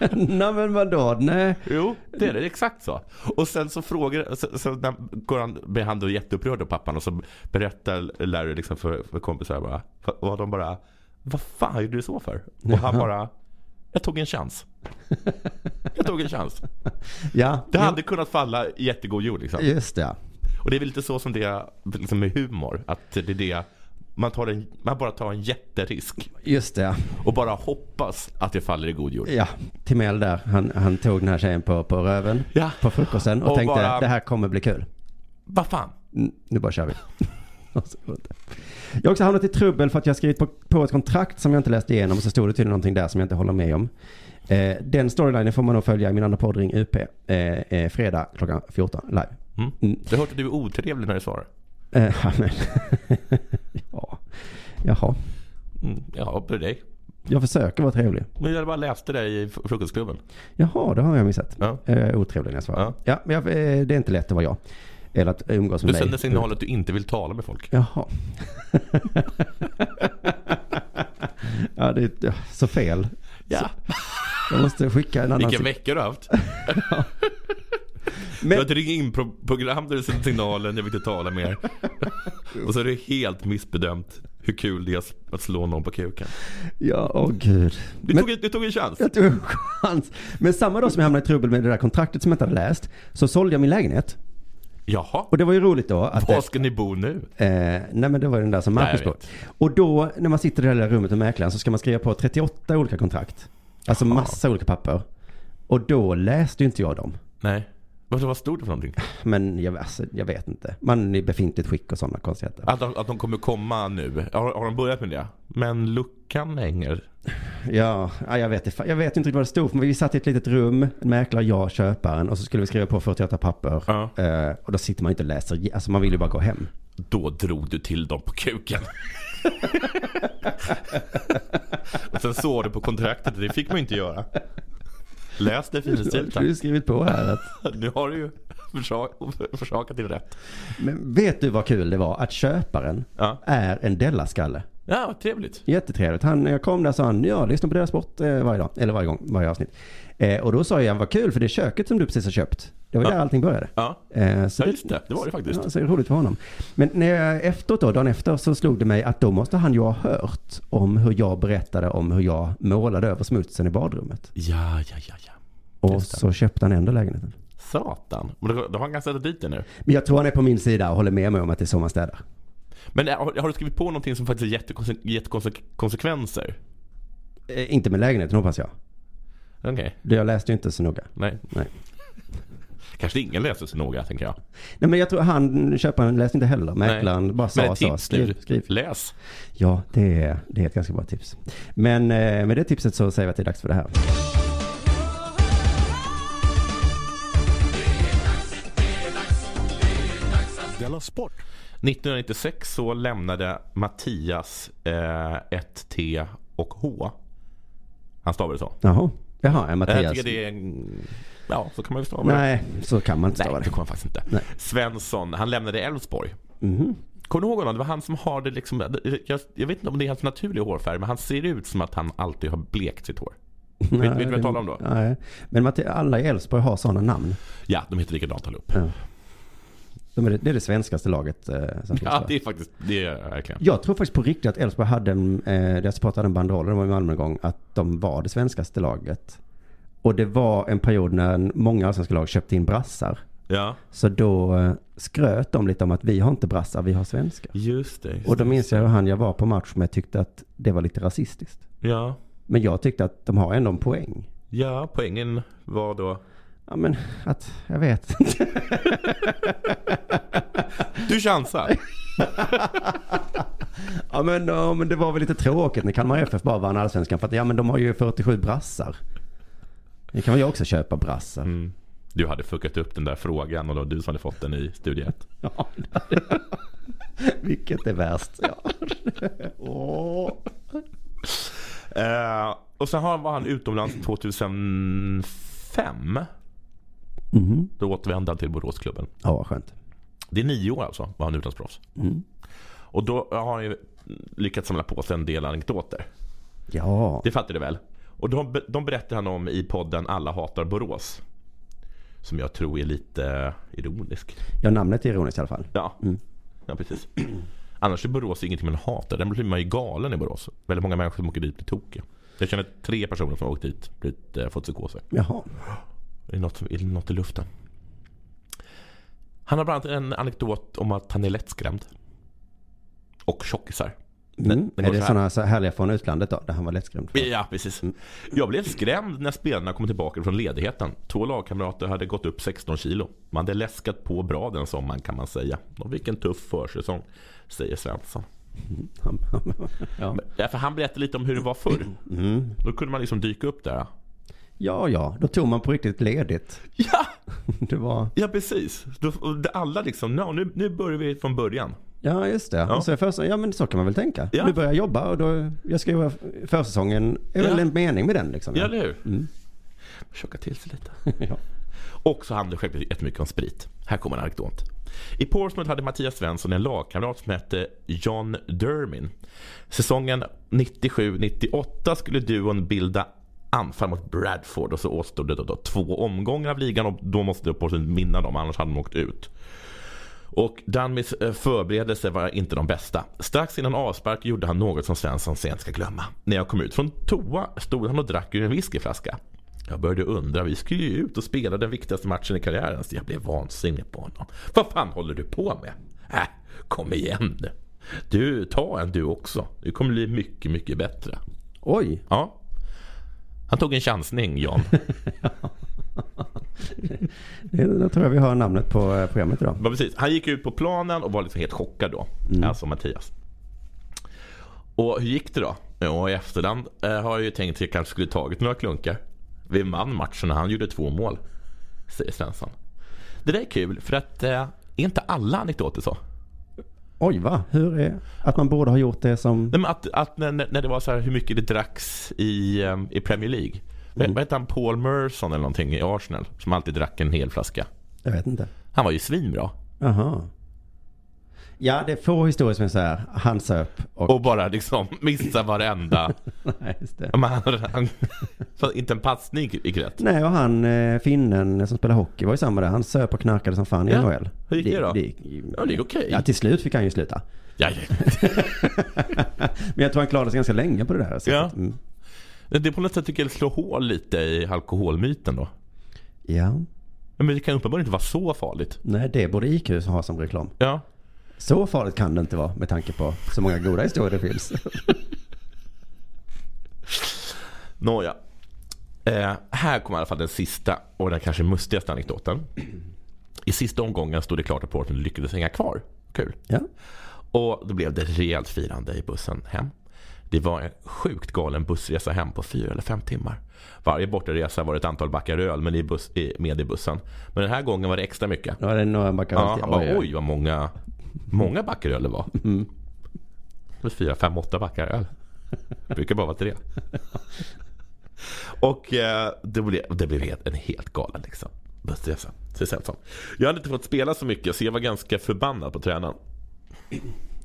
Speaker 3: Nej men vadå? Nej.
Speaker 4: Jo, det är det. Det är Exakt så. Och sen så frågar, så, så när går han, blir han då jätteupprörd av pappan och så berättar Larry liksom för, för kompisar bara. Och de bara, vad fan gjorde du så för? Och han bara, jag tog en chans. Jag tog en chans.
Speaker 3: Ja.
Speaker 4: Det hade kunnat falla i jättegod jord liksom.
Speaker 3: Just det. ja.
Speaker 4: Och det är väl lite så som det är liksom med humor. Att det är det, man, tar en, man bara tar en jätterisk.
Speaker 3: Just det. ja.
Speaker 4: Och bara hoppas att det faller i god jord.
Speaker 3: Ja, Timell där. Han, han tog den här tjejen på, på röven
Speaker 4: Ja.
Speaker 3: på frukosten och,
Speaker 4: Och
Speaker 3: tänkte
Speaker 4: bara-
Speaker 3: det här kommer bli kul.
Speaker 4: Vad fan.
Speaker 3: Mm, nu bara kör vi. Alltså, vänta. jag har också hamnat i trubbel för att jag har skrivit på, på ett kontrakt som jag inte läste igenom och så stod det tydligen någonting där som jag inte håller med om. Eh, den storylinen får man nog följa i min andra podd Ring UP. Eh, eh, fredag klockan 14 live.
Speaker 4: Mm.
Speaker 3: Mm.
Speaker 4: Jag har hört att du är otrevlig när du svarar.
Speaker 3: Eh, ja, men. ja. Jaha.
Speaker 4: Mm. Ja, på dig.
Speaker 3: Jag försöker vara trevlig.
Speaker 4: Men jag bara läste det i fr- frukostklubben.
Speaker 3: Jaha, det har jag missat.
Speaker 4: Ja.
Speaker 3: Eh, otrevlig när jag svarar.
Speaker 4: Ja.
Speaker 3: Ja. men jag, eh, det är inte lätt att vara jag. Eller att umgås med
Speaker 4: Du
Speaker 3: dig.
Speaker 4: sänder signalen att du inte vill tala med folk.
Speaker 3: Jaha. ja, det är ja, så fel.
Speaker 4: Ja.
Speaker 3: Jag måste skicka en annan. sig-
Speaker 4: Vilken vecka du har haft.
Speaker 3: Men-
Speaker 4: Du har ett ring in pro- program där du sänder signalen jag vill inte tala med er. Och så är det helt missbedömt hur kul det är att slå någon på kuken.
Speaker 3: Ja, åh gud.
Speaker 4: Du,
Speaker 3: Men-
Speaker 4: tog, en- du tog en chans.
Speaker 3: Jag tog en chans. Men samma dag som jag hamnade i trubbel med det där kontraktet som jag inte hade läst. Så sålde jag min lägenhet.
Speaker 4: Jaha.
Speaker 3: Och det var ju roligt då. Att
Speaker 4: Var ska ni bo nu?
Speaker 3: Eh, nej men det var ju den där som
Speaker 4: Nej,
Speaker 3: Marcus
Speaker 4: jag
Speaker 3: på.
Speaker 4: vet.
Speaker 3: Och då när man sitter i det här lilla rummet med mäklaren så ska man skriva på 38 olika kontrakt. Alltså massa olika papper. Och då läste ju inte jag dem.
Speaker 4: Nej. Vad vad stod det för någonting?
Speaker 3: Men jag, alltså, jag vet inte. Man är i befintligt skick och sådana konstigheter.
Speaker 4: Att de, att de kommer komma nu. Har, har de börjat med det? Men luckan hänger.
Speaker 3: Ja, ja, jag vet, inte- jag vet inte riktigt vad det stod. Men vi satt i ett litet rum, en mäklare, jag, köparen. Och så skulle vi skriva på 48 papper.
Speaker 4: Ja.
Speaker 3: Eh, och då sitter man ju inte och läser. ge- Alltså man vill ju bara gå hem.
Speaker 4: Då drog du till dem på kuken. Och sen såg du på kontraktet. Det fick man ju inte göra. Läs det finstilta.
Speaker 3: har du skrivit på här. Att,
Speaker 4: Nu har du ju försa- försakat din rätt.
Speaker 3: men vet du vad kul det var? Att köparen
Speaker 4: Ja.
Speaker 3: är en Della-skalle.
Speaker 4: Ja, vad trevligt.
Speaker 3: Jättetrevligt. Han, när jag kom där sa han, jag lyssnar på deras sport eh, varje dag. Eller varje gång, varje avsnitt. Eh, och då sa jag, vad kul för det köket som du precis har köpt. Det var
Speaker 4: Ja.
Speaker 3: där allting började.
Speaker 4: Ja.
Speaker 3: Eh, så
Speaker 4: Ja, just det. Det var det faktiskt.
Speaker 3: Ja, så är det roligt för honom. Men när jag, efteråt då, dagen efter så slog det mig att då måste han ju ha hört om hur jag berättade om hur jag målade över smutsen i badrummet.
Speaker 4: Ja, ja, ja, ja.
Speaker 3: Och
Speaker 4: Just det.
Speaker 3: så köpte han ändå lägenheten.
Speaker 4: Satan. Men då, då har han kanske sätta dit dig nu.
Speaker 3: Men jag tror han är på min sida och håller med mig om att det är så man städar.
Speaker 4: Men eh, har, har du skrivit på någonting som faktiskt är jättekonse- jättekonsekvenser?
Speaker 3: Eh, inte med lägenheten hoppas jag.
Speaker 4: Okej.
Speaker 3: Det jag läste ju inte så noga.
Speaker 4: Nej.
Speaker 3: Nej.
Speaker 4: Kanske ingen läser så noga, tänker jag.
Speaker 3: Nej men jag tror han, köparen läste inte heller. Mäklaren bara sa
Speaker 4: Men ett
Speaker 3: så.
Speaker 4: tips nu.
Speaker 3: Skriv, skriv.
Speaker 4: Läs.
Speaker 3: Ja, det är, det är ett ganska bra tips. Men eh, med det tipset så säger vi att det är dags för det här.
Speaker 8: Della Sport.
Speaker 4: 1996 så lämnade Mattias eh, 1T och H. Han stavar det så.
Speaker 3: Jaha, jaha, ja,
Speaker 4: Jag
Speaker 3: Mattias.
Speaker 4: tycker det är en... Ja, så kan man ju stava det.
Speaker 3: Nej, så kan man inte
Speaker 4: Nej,
Speaker 3: stava
Speaker 4: det
Speaker 3: det.
Speaker 4: kommer han faktiskt inte.
Speaker 3: Nej.
Speaker 4: Svensson, han lämnade Elfsborg.
Speaker 3: Mhm.
Speaker 4: Kommer du ihåg honom? Det var han som har det liksom... Jag, jag vet inte om det är hans naturliga hårfärg, men han ser ut som att han alltid har blekt sitt hår. Vet- vet du vad jag
Speaker 3: det-
Speaker 4: talar om då?
Speaker 3: Nej, men Matte, alla i Elfsborg har sådana namn.
Speaker 4: Ja, de heter likadant allihop.
Speaker 3: Ja. De är det, det är det svenskaste laget. Eh, som finns
Speaker 4: Ja,
Speaker 3: där.
Speaker 4: det är faktiskt... Det är verkligen.
Speaker 3: Jag tror faktiskt på riktigt att Elfsborg hade en, eh, deras supportrar hade en banderoll, de var i Malmö en gång, att de var det svenskaste laget. Och det var en period när många allsvenska lag köpte in brassar.
Speaker 4: Ja,
Speaker 3: Så då eh, skröt de lite om att vi har inte brassar, vi har svenskar.
Speaker 4: just det. Just
Speaker 3: Och då
Speaker 4: det.
Speaker 3: minns jag hur han jag var på match med tyckte att det var lite rasistiskt.
Speaker 4: Ja.
Speaker 3: Men jag tyckte att de har ändå en poäng.
Speaker 4: Ja, poängen var då...
Speaker 3: Ja men att, jag vet inte.
Speaker 4: Du chansar!
Speaker 3: Ja men, ja men det var väl lite tråkigt när Kalmar FF bara vann allsvenskan för att ja men de har ju 47 brassar. Det kan väl jag också köpa brassar.
Speaker 4: Mm. Du hade fuckat upp den där frågan och då var du som hade fått den i studie 1.
Speaker 3: Ja, det hade jag. Vilket är värst? Ja. Åh.
Speaker 4: Eh, och sen har- var han utomlands 2005.
Speaker 3: Mhm.
Speaker 4: Då återvände han till Boråsklubben.
Speaker 3: Ja vad skönt.
Speaker 4: Det är nio år alltså var han utlandsproffs.
Speaker 3: Mm.
Speaker 4: Och då har han ju lyckats samla på sig en del anekdoter.
Speaker 3: Ja.
Speaker 4: Det fattar du väl? Och de, de berättar han om i podden Alla hatar Borås. Som jag tror är lite ironisk.
Speaker 3: Ja namnet är ironiskt i alla fall.
Speaker 4: Ja, ja precis. Annars är Borås ingenting man hatar. Den blir man ju galen i Borås. Väldigt många människor som åker dit blir tokiga. Jag känner tre personer som har åkt dit blivit, eh, fått psykoser.
Speaker 3: Jaha.
Speaker 4: Är det något, som- är det något i luften? Han har bland annat en anekdot om att han är lättskrämd. Och tjockisar.
Speaker 3: Mm.
Speaker 4: det
Speaker 3: är
Speaker 4: går
Speaker 3: det
Speaker 4: så här.
Speaker 3: sådana så härliga från utlandet då? Där han var lättskrämd? för?
Speaker 4: Ja, precis. Jag blev skrämd när spelarna kom tillbaka från ledigheten. Två lagkamrater hade gått upp 16 kilo. Man hade läskat på bra den sommaren kan man säga. De fick en tuff försäsong, säger Svensson.
Speaker 3: ja.
Speaker 4: Ja, för han berättade lite om hur det var förr.
Speaker 3: Mm.
Speaker 4: Då kunde man liksom dyka upp där.
Speaker 3: ja, ja. Då tog man på riktigt ledigt.
Speaker 4: Ja,
Speaker 3: Det var...
Speaker 4: ja precis. Då, och det- alla liksom, no, nu, nu börjar vi från början.
Speaker 3: Ja, just det. Och så är försäsongen, ja men så kan man väl tänka.
Speaker 4: Ja.
Speaker 3: Nu börjar jag jobba och då, jag ska göra försäsongen, är väl
Speaker 4: Ja.
Speaker 3: en mening med den liksom.
Speaker 4: Ja, eller hur?
Speaker 3: Mm.
Speaker 4: Tjocka till sig lite.
Speaker 3: ja.
Speaker 4: Och så handlar det självklart jättemycket om sprit. Här kommer en anekdot. I Portsmouth hade Mattias Svensson en lagkamrat som hette John Dermin. Säsongen 97-98 skulle duon bilda anfall mot Bradford och så återstod det då, då två omgångar av ligan och då måste Portsmouth vinna dem annars hade de åkt ut. Och Danmys eh, förberedelser var inte de bästa. Strax innan avspark gjorde han något som Svensson sent ska glömma. När jag kom ut från toa stod han och drack ur en whiskyflaska. Jag började undra, vi skulle ju ut och spela den viktigaste matchen i karriären så jag blev vansinnig på honom. Vad fan håller du på med? Äh, kom igen nu. Du, ta en du också. Du kommer bli mycket, mycket bättre.
Speaker 3: Oj,
Speaker 4: Ja. Han tog en chansning, Jan.
Speaker 3: det, då tror jag vi har namnet på eh, programmet idag.
Speaker 4: Ja, precis. Han gick ut på planen och var liksom helt chockad då. Alltså Mattias. Och hur gick det då? Jo, i efterhand eh, har jag ju tänkt att jag kanske skulle tagit några klunkar. Vi vann matchen och han gjorde två mål. Säger Svensson. Det där är kul för att eh, är inte alla anekdoter så?
Speaker 3: Oj va, hur är att man borde ha gjort det som...
Speaker 4: Nej, men att, att när, när det var så här hur mycket det dracks i, eh, i Premier League. Vad- Vad hette han? Paul Merson eller någonting i Arsenal. Som alltid drack en hel flaska.
Speaker 3: Jag vet inte.
Speaker 4: Han var ju svinbra.
Speaker 3: Jaha. Ja, det är få historier som är så här, han söp och...
Speaker 4: Och bara liksom missade varenda
Speaker 3: Nej, just det.
Speaker 4: Ja, Men han, han, så inte en passning gick rätt.
Speaker 3: Nej, och han eh, finnen som spelar hockey var ju samma där. Han söp och knarkade som fan i
Speaker 4: Ja.
Speaker 3: NHL.
Speaker 4: Hur gick det då? Ja, det gick okej.
Speaker 3: Ja, till slut fick han ju sluta.
Speaker 4: Ja,
Speaker 3: Men jag tror han klarade sig ganska länge på det där. sättet.
Speaker 4: Ja.
Speaker 3: Mm.
Speaker 4: ja. Det är på något sätt tycker jag slår hål lite i alkoholmyten då.
Speaker 3: ja.
Speaker 4: Ja, Men det kan uppenbarligen inte vara så farligt.
Speaker 3: Nej, det borde IQ ha som reklam.
Speaker 4: Ja.
Speaker 3: Så farligt kan det inte vara med tanke på så många goda historier det finns.
Speaker 4: Nåja. Eh, här kommer i alla fall den sista och den kanske mustigaste anekdoten. I sista omgången stod det klart att Portman lyckades hänga kvar. Kul.
Speaker 3: Ja.
Speaker 4: Och då blev det rejält firande i bussen hem. Det var en sjukt galen bussresa hem på fyra eller fem timmar. Varje bortaresa var det ett antal backar öl men i buss, i, med i bussen. Men den här gången var det extra mycket.
Speaker 3: Då är det några man kan
Speaker 4: Ja, han bara oj Mm. vad många, många backar öl det var. Det var Fyra, fem, åtta backar öl. Det brukar bara vara tre. Och eh, det blev, det blev helt, en helt galen liksom. bussresa. Så det känns som. Jag hade inte fått spela så mycket så jag var ganska förbannad på tränaren.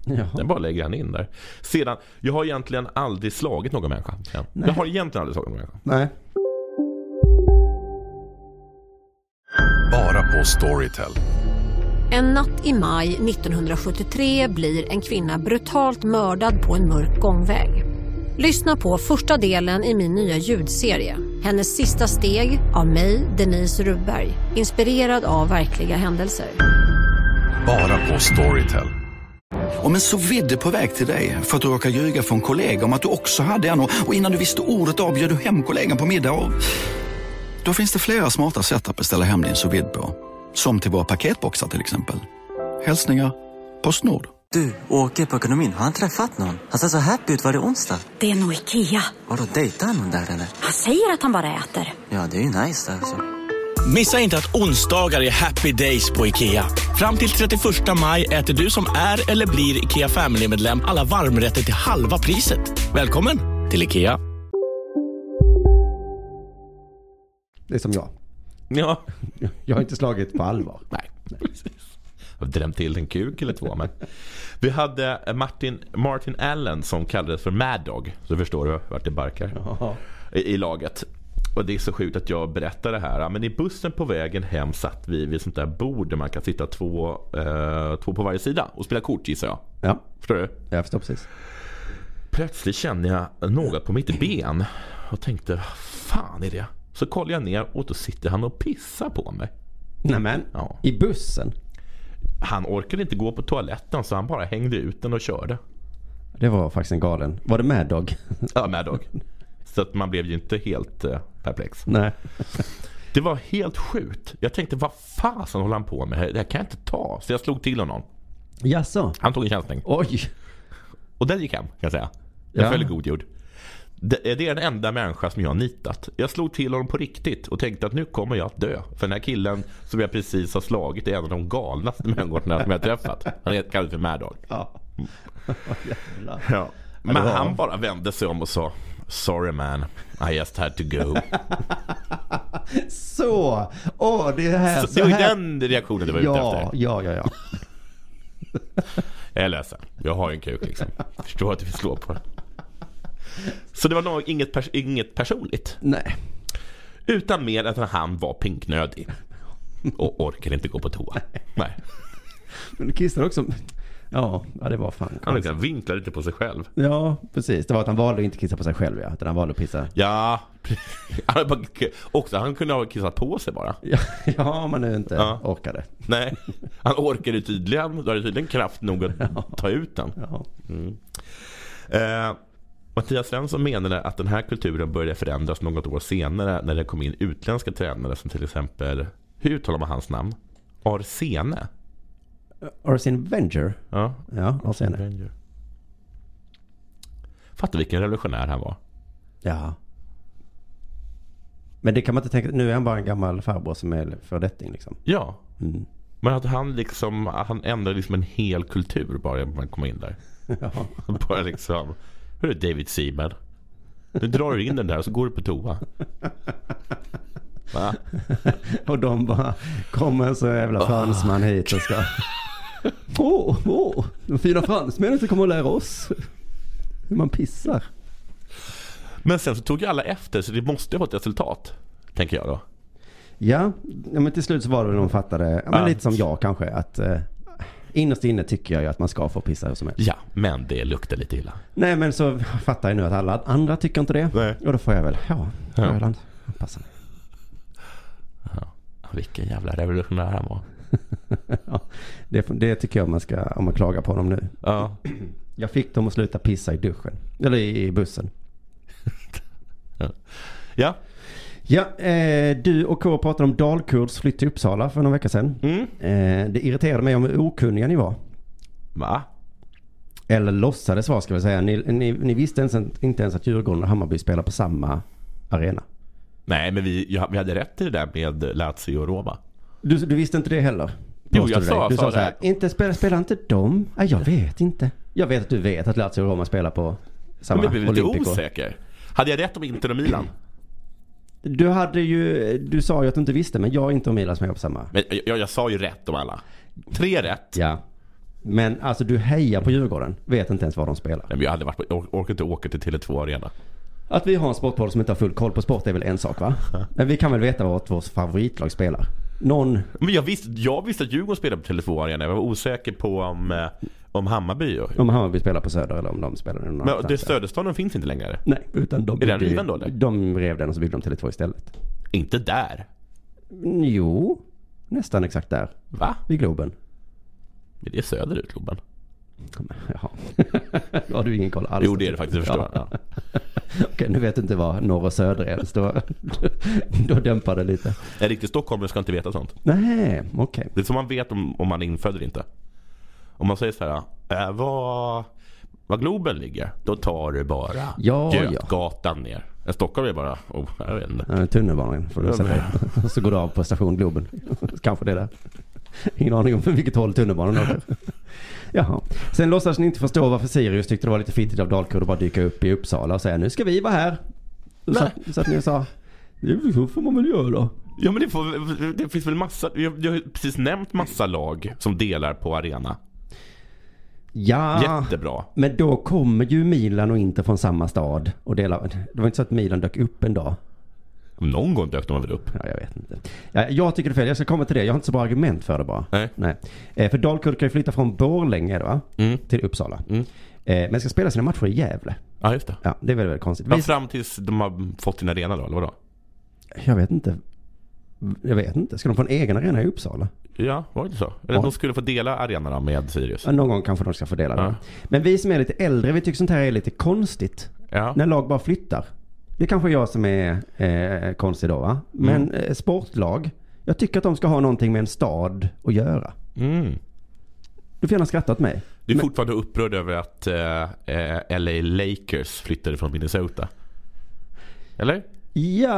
Speaker 4: Den
Speaker 3: Jaha.
Speaker 4: bara lägger han in där. Sedan, jag har egentligen aldrig slagit någon människa. Ja. Jag har egentligen aldrig slagit någon människa.
Speaker 3: Nej.
Speaker 9: Bara på Storytel.
Speaker 10: En natt i maj 1973 blir en kvinna brutalt mördad på en mörk gångväg. Lyssna på första delen i min nya ljudserie. Hennes sista steg av mig, Denise Rubberg. Inspirerad av verkliga händelser.
Speaker 9: Bara på Storytel.
Speaker 11: Om en så vidde på väg till dig för att du råkar ljuga från kollega om att du också hade en och och innan du visste ordet av bjöd du hem kollegan på middag och... Då finns det flera smarta sätt att beställa hem din sous vide på. Som till våra paketboxar till exempel. Hälsningar Postnord.
Speaker 12: Du, åker på ekonomin. Har han träffat någon? Han ser så happy ut. Var det onsdag?
Speaker 13: Det är nog Ikea.
Speaker 12: Vadå, dejtar han någon där eller?
Speaker 13: Han säger att han bara äter.
Speaker 12: Ja, det är ju nice alltså.
Speaker 14: Missa inte att onsdagar är happy days på IKEA. Fram till 31 maj äter du som är eller blir IKEA Family-medlem alla varmrätter till halva priset. Välkommen till IKEA.
Speaker 3: Det är som jag.
Speaker 4: Ja.
Speaker 3: Jag har inte slagit på allvar.
Speaker 4: Nej. Jag drämde till en kuk eller två. Men. Vi hade Martin, Martin Allen som kallades för Mad Dog. Så förstår du vart det barkar. I, I laget. Och det är så sjukt att jag berättar det här. Men i bussen på vägen hem satt vi vid sånt där bord där man kan sitta två, eh, två på varje sida och spela kort gissar jag.
Speaker 3: Ja.
Speaker 4: Förstår du?
Speaker 3: Jag förstår precis.
Speaker 4: Plötsligt kände jag något på mitt ben och tänkte, vad fan är det? Så kollar jag ner och då sitter han och pissar på mig.
Speaker 3: Nämen.
Speaker 4: Ja.
Speaker 3: I bussen?
Speaker 4: Han orkade inte gå på toaletten så han bara hängde ut den och körde.
Speaker 3: Det var faktiskt en galen. Var det Mad Dog?
Speaker 4: Ja, Mad Dog. Så att man blev ju inte helt eh, perplex.
Speaker 3: Nej.
Speaker 4: Det var helt sjukt. Jag tänkte, vad fasen håller han på med? här? Det här kan jag inte ta. Så jag slog till honom.
Speaker 3: Jaså?
Speaker 4: Han tog en chansning.
Speaker 3: Oj.
Speaker 4: Och den gick hem, kan jag säga. Jag
Speaker 3: Ja.
Speaker 4: föll i god jord. Det är det är den enda människa som jag har nitat. Jag slog till honom på riktigt och tänkte att nu kommer jag att dö. För den här killen som jag precis har slagit är en av de galnaste människorna som jag har träffat. Han är kallad för Mad Dog. Ja. Men
Speaker 3: det var
Speaker 4: han
Speaker 3: han.
Speaker 4: bara vände sig om och sa Sorry man, I just had to go.
Speaker 3: Så! Åh, det är här.
Speaker 4: Så
Speaker 3: så
Speaker 4: det var ju
Speaker 3: här-
Speaker 4: den reaktionen du var ute
Speaker 3: ja,
Speaker 4: efter.
Speaker 3: Ja, ja, ja.
Speaker 4: Jag är ledsen. Jag har ju en kuk liksom. Jag förstår att du vill slå på den. Så det var nog inget, pers- inget personligt.
Speaker 3: Nej.
Speaker 4: Utan mer att han var pinknödig. Och orkade inte gå på toa. Nej.
Speaker 3: Men du kissade också. Ja, ja, det var fan.
Speaker 4: Han liksom vinklade lite på sig själv.
Speaker 3: Ja, precis. Det var att han valde att inte kissa på sig själv ja. Utan han valde att pissa.
Speaker 4: Ja. Han, hade bara, också, han kunde ha kissat på sig bara.
Speaker 3: Ja, ja man är inte
Speaker 4: Ja.
Speaker 3: orkade.
Speaker 4: Nej, han orkade tydligen. Då hade tydligen kraft nog att ta ut den. Mm. Eh, Mattias Svensson menade att den här kulturen började förändras något år senare när det kom in utländska tränare som till exempel, hur uttalar man hans namn? Arsene?
Speaker 3: Arsene Venger.
Speaker 4: Ja.
Speaker 3: Ja, Arsene.
Speaker 4: Wenger. Fattar vilken revolutionär han var.
Speaker 3: Ja. Men det kan man inte tänka. Nu är han bara en gammal farbror som är fördetting liksom.
Speaker 4: Ja.
Speaker 3: Mm.
Speaker 4: Men att han liksom, han ändrade liksom en hel kultur bara när man kom in där.
Speaker 3: Ja.
Speaker 4: Bara liksom, hörru David Seaman. Nu drar du in den där och så går du på toa. Va?
Speaker 3: Och de bara kommer så jävla fransman hit och ska... Åh, åh! de fina fransmännen som kommer och lära oss hur man pissar.
Speaker 4: Men sen så tog ju alla efter så det måste ju ha ett resultat. Tänker jag då.
Speaker 3: Ja, ja, men till slut så var det de fattade, ja, men
Speaker 4: Ja.
Speaker 3: lite som jag kanske, att eh, innerst inne tycker jag ju att man ska få pissa hur som helst.
Speaker 4: Ja, men det luktar lite illa.
Speaker 3: Nej men så fattar jag nu att alla andra tycker inte det. Och då får jag väl, ja,
Speaker 4: Ja.
Speaker 3: Öland, passa mig.
Speaker 4: Vilken jävla revolutionär han var.
Speaker 3: ja, det, det tycker jag man ska, om man klagar på dem nu.
Speaker 4: Ja.
Speaker 3: Jag fick dem att sluta pissa i duschen. Eller i, i bussen.
Speaker 4: Ja.
Speaker 3: Ja, eh, du och K pratade om dalkurds flytt till Uppsala för några veckor sedan. Eh, det irriterade mig om hur okunniga ni var.
Speaker 4: Va?
Speaker 3: Eller låtsades vara ska vi säga. Ni, ni, ni visste ens, inte ens att Djurgården och Hammarby spelar på samma arena.
Speaker 4: Nej, men vi, ja, vi hade rätt i det där med Lazio och Roma.
Speaker 3: Du, du visste inte det heller?
Speaker 4: Jo, jag
Speaker 3: påstod du
Speaker 4: sa-
Speaker 3: dig. Du
Speaker 4: sa
Speaker 3: sa
Speaker 4: det.
Speaker 3: så här, inte spelar, spelar inte de? Nej, jag vet inte. Jag vet att du vet att Lazio och Roma spelar på samma
Speaker 4: Men jag blev lite
Speaker 3: Olympico.
Speaker 4: osäker. Hade jag rätt om Inter och Milan?
Speaker 3: Du hade ju, du sa ju att du inte visste men jag är inte och Milan som är på samma.
Speaker 4: Men jag, jag, jag sa ju rätt om alla. Tre rätt.
Speaker 3: Ja. Men alltså du hejar på Djurgården, vet inte ens var de spelar.
Speaker 4: Nej, men jag hade varit på, jag or- orkar inte åka till Tele2 Arena.
Speaker 3: Att vi har en sportpodd som inte har full koll på sport är väl en sak va? Men vi kan väl veta vart vårt favoritlag spelar? Någon...
Speaker 4: Men jag visste, jag visste att Djurgården spelade på Tele2 Arena. Jag var osäker på om, eh, om Hammarby. och-
Speaker 3: Om Hammarby spelar på Söder eller om de spelar någon
Speaker 4: Men det
Speaker 3: annanstans.
Speaker 4: Söderstaden finns inte längre.
Speaker 3: Nej, utan de...
Speaker 4: Är den
Speaker 3: byggde ju-
Speaker 4: riven då, eller?
Speaker 3: De rev den och så byggde de Tele2 istället.
Speaker 4: Inte där.
Speaker 3: Jo, nästan exakt där.
Speaker 4: Va?
Speaker 3: Vid Globen.
Speaker 4: Men det är söderut, Globen.
Speaker 3: Jaha. Då har du ingen koll alls.
Speaker 4: Jo, det är det faktiskt, jag förstår.
Speaker 3: Ja. Okej, nu vet du inte vad norr och söder är. Så Då, då dämpar det lite.
Speaker 4: En riktig stockholmare ska inte veta sånt.
Speaker 3: Nej, okej.
Speaker 4: Det är som man vet om, om man är infödd eller inte. Om man säger så här, äh, var, var Globen ligger, då tar du bara
Speaker 3: Ja, ja.
Speaker 4: Götgatan ner. En stockholmare är bara, oh, jag vet inte.
Speaker 3: Okay. Tunnelbanan får du
Speaker 4: Ja,
Speaker 3: sätta dig. Och Så går du av på station Globen. Kanske det där. Ingen aning om vilket håll tunnelbanan åker. Jaha. Sen låtsas ni inte förstå varför Sirius tyckte det var lite fittigt av Dalkurd att bara dyka upp i Uppsala och säga nu ska vi vara här. Så, att- så att ni sa, det är väl så får man väl göra.
Speaker 4: Ja men det, får, det finns väl massa, jag, jag har ju precis nämnt massa lag som delar på arena.
Speaker 3: Ja.
Speaker 4: Jättebra.
Speaker 3: Men då kommer ju Milan och inte från samma stad och delar. Det var inte så att Milan dök upp en dag.
Speaker 4: Någon gång dök de väl upp?
Speaker 3: Ja, jag vet inte. Ja, jag tycker det är fel. Jag ska komma till det. Jag har inte så bra argument för det bara.
Speaker 4: Nej.
Speaker 3: Eh, för Dalkurd kan ju flytta från Borlänge då, va?
Speaker 4: Mm.
Speaker 3: till Uppsala. Eh, men ska spela sina matcher i Gävle.
Speaker 4: Ja just det.
Speaker 3: Ja, det är väl väldigt konstigt.
Speaker 4: Ja,
Speaker 3: Vi-
Speaker 4: fram tills de har fått sin arena då, eller vadå?
Speaker 3: Jag vet inte. Jag vet inte. Ska de få en egen arena i Uppsala?
Speaker 4: Ja, var det inte så? Eller
Speaker 3: Ja.
Speaker 4: de skulle få dela arenorna med Sirius.
Speaker 3: Ja, Någon gång kanske de ska få dela
Speaker 4: Ja.
Speaker 3: det. Men vi som är lite äldre, vi tycker sånt här är lite konstigt.
Speaker 4: Ja.
Speaker 3: När lag bara flyttar. Det är kanske är jag som är eh, konstig då va? Men
Speaker 4: Mm.
Speaker 3: eh, sportlag, jag tycker att de ska ha någonting med en stad att göra. Du får gärna skratta åt mig.
Speaker 4: Mm. Du är fortfarande upprörd över att eh, eh, LA Lakers flyttade från Minnesota? Eller?
Speaker 3: Ja,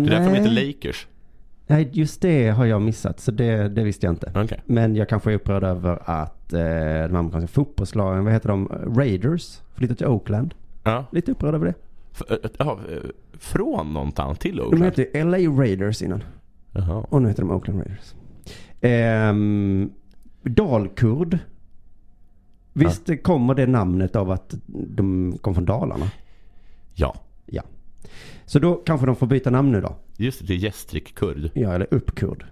Speaker 4: Det är därför de
Speaker 3: nej.
Speaker 4: heter Lakers.
Speaker 3: Nej, just det har jag missat. Så det, det visste jag inte. Men jag kanske är upprörd över att eh, de amerikanska fotbollslagen, vad heter de? Raiders, flyttat till Oakland.
Speaker 4: Ja.
Speaker 3: Lite upprörd över det.
Speaker 4: F- eh, ja, eh, från någonstans till
Speaker 3: De
Speaker 4: Oakland?
Speaker 3: hette ju LA Raiders innan. Och nu heter de Oakland Raiders. Ehm, Dalkurd. Visst kommer det namnet av att de kom från Dalarna?
Speaker 4: Ja.
Speaker 3: Ja. Så då kanske de får byta namn nu då?
Speaker 4: Just det, det är gästrikkurd.
Speaker 3: Ja, eller uppkurd.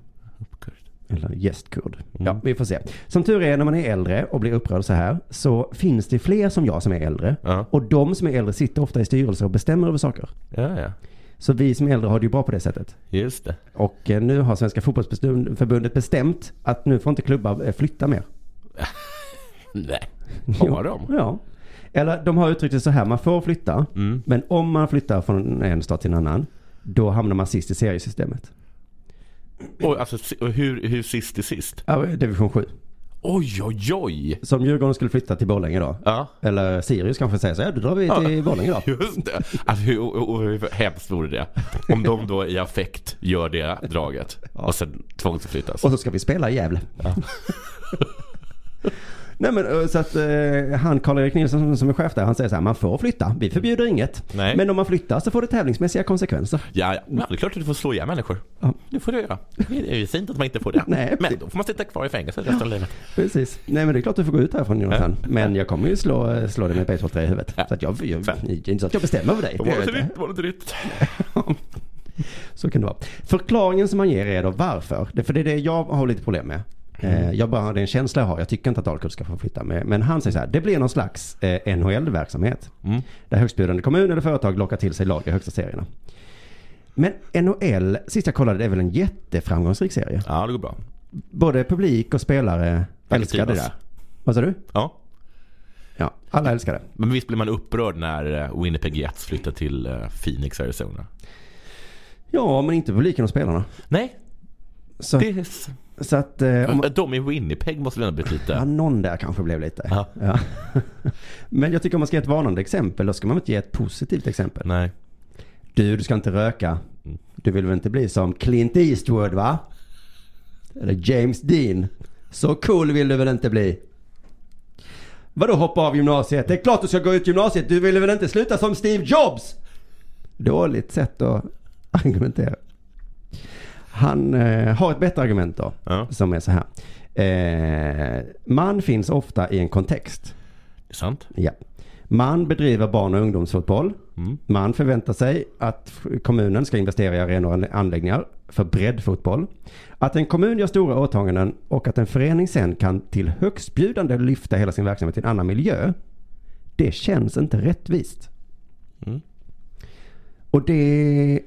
Speaker 3: Eller gästkurd. Ja, vi får se. Som tur är när man är äldre och blir upprörd så här så finns det fler som jag som är äldre. Och de som är äldre sitter ofta i styrelser och bestämmer över saker.
Speaker 4: Ja, ja.
Speaker 3: Så vi som är äldre har det ju bra på det sättet.
Speaker 4: Just det.
Speaker 3: Och eh, nu har Svenska Fotbollsförbundet bestämt att nu får inte klubbar eh, flytta mer.
Speaker 4: Nej.
Speaker 3: Jo,
Speaker 4: Har de?
Speaker 3: Ja. Eller de har uttryckt det så här, man får flytta.
Speaker 4: Mm.
Speaker 3: Men om man flyttar från en stad till en annan, då hamnar man sist i seriesystemet.
Speaker 4: Och, alltså, si- och hur, hur sist till sist?
Speaker 3: Ja, Division 7.
Speaker 4: Oj, oj, oj!
Speaker 3: Som Djurgården skulle flytta till Borlänge då.
Speaker 4: Ja.
Speaker 3: Eller Sirius kanske säger så här, då drar vi till Borlänge då.
Speaker 4: Just det. Alltså, hur, hur, hur hemskt vore det? Om de då i affekt gör det draget. Och sen tvångsförflyttas.
Speaker 3: Och så ska vi spela i Gävle. Nej men eh, så att eh, han Karl-Erik Nilsson som- som är chef där, han säger så här, man får flytta, vi förbjuder inget.
Speaker 4: Nej.
Speaker 3: Men om man flyttar så får det tävlingsmässiga konsekvenser.
Speaker 4: Ja, ja. Men det är klart att du får slå ihjäl människor. Det får du göra. Det är ju fint att man inte får det.
Speaker 3: Nej.
Speaker 4: Men då får man sitta kvar i fängelset resten av livet.
Speaker 3: Precis. Nej men det är klart du får gå ut härifrån Jonathan. Men jag kommer ju slå, eh, slå dig med ett basebollträ i huvudet. Så att jag, jag, det är inte så att jag bestämmer över dig.
Speaker 4: Det
Speaker 3: Det gör
Speaker 4: var
Speaker 3: jag
Speaker 4: lite
Speaker 3: inte.
Speaker 4: nytt, det var lite nytt.
Speaker 3: Så kan det vara. Förklaringen som man ger är då varför. Det, för det är det jag har lite problem med. Eh, Jag bara, det är en känsla jag har. Jag tycker inte att Dalkurd ska få flytta med. Men han säger så här. Det blir någon slags eh, NHL-verksamhet. Där högstbjudande kommun eller företag lockar till sig lag i högsta serierna. Men NHL, sist jag kollade, det är väl en jätteframgångsrik serie.
Speaker 4: Ja, det går bra.
Speaker 3: Både publik och spelare älskar det
Speaker 4: trivas.
Speaker 3: där. Vad sa du?
Speaker 4: Ja.
Speaker 3: Ja, alla älskar det.
Speaker 4: Men visst blir man upprörd när eh, Winnipeg Jets flyttar till eh, Phoenix, Arizona?
Speaker 3: Ja, men inte publiken och spelarna.
Speaker 4: Nej.
Speaker 3: Så,
Speaker 4: det är... s-
Speaker 3: så att... eh, om man-
Speaker 4: Att De i Winnipeg måste väl ändå bli
Speaker 3: Ja,
Speaker 4: lite...
Speaker 3: någon där kanske blev lite. Ja. Men jag tycker om man ska ge ett varnande exempel, då ska man väl inte ge ett positivt exempel.
Speaker 4: Nej.
Speaker 3: Du, du ska inte röka. Du vill väl inte bli som Clint Eastwood va? Eller James Dean. Så cool vill du väl inte bli? Vadå hoppa av gymnasiet? Det är klart du ska gå ut gymnasiet. Du ville väl inte sluta som Steve Jobs? Dåligt sätt att argumentera. Han eh, har ett bättre argument då. Som är så här. Eh, man finns ofta i en kontext.
Speaker 4: Det är sant.
Speaker 3: Ja. Man bedriver barn och ungdomsfotboll.
Speaker 4: Mm.
Speaker 3: Man förväntar sig att f- kommunen ska investera i arenor och anläggningar för breddfotboll. Att en kommun gör stora åtaganden och att en förening sen kan till högstbjudande lyfta hela sin verksamhet till en annan miljö. Det känns inte rättvist.
Speaker 4: Mm.
Speaker 3: Och det,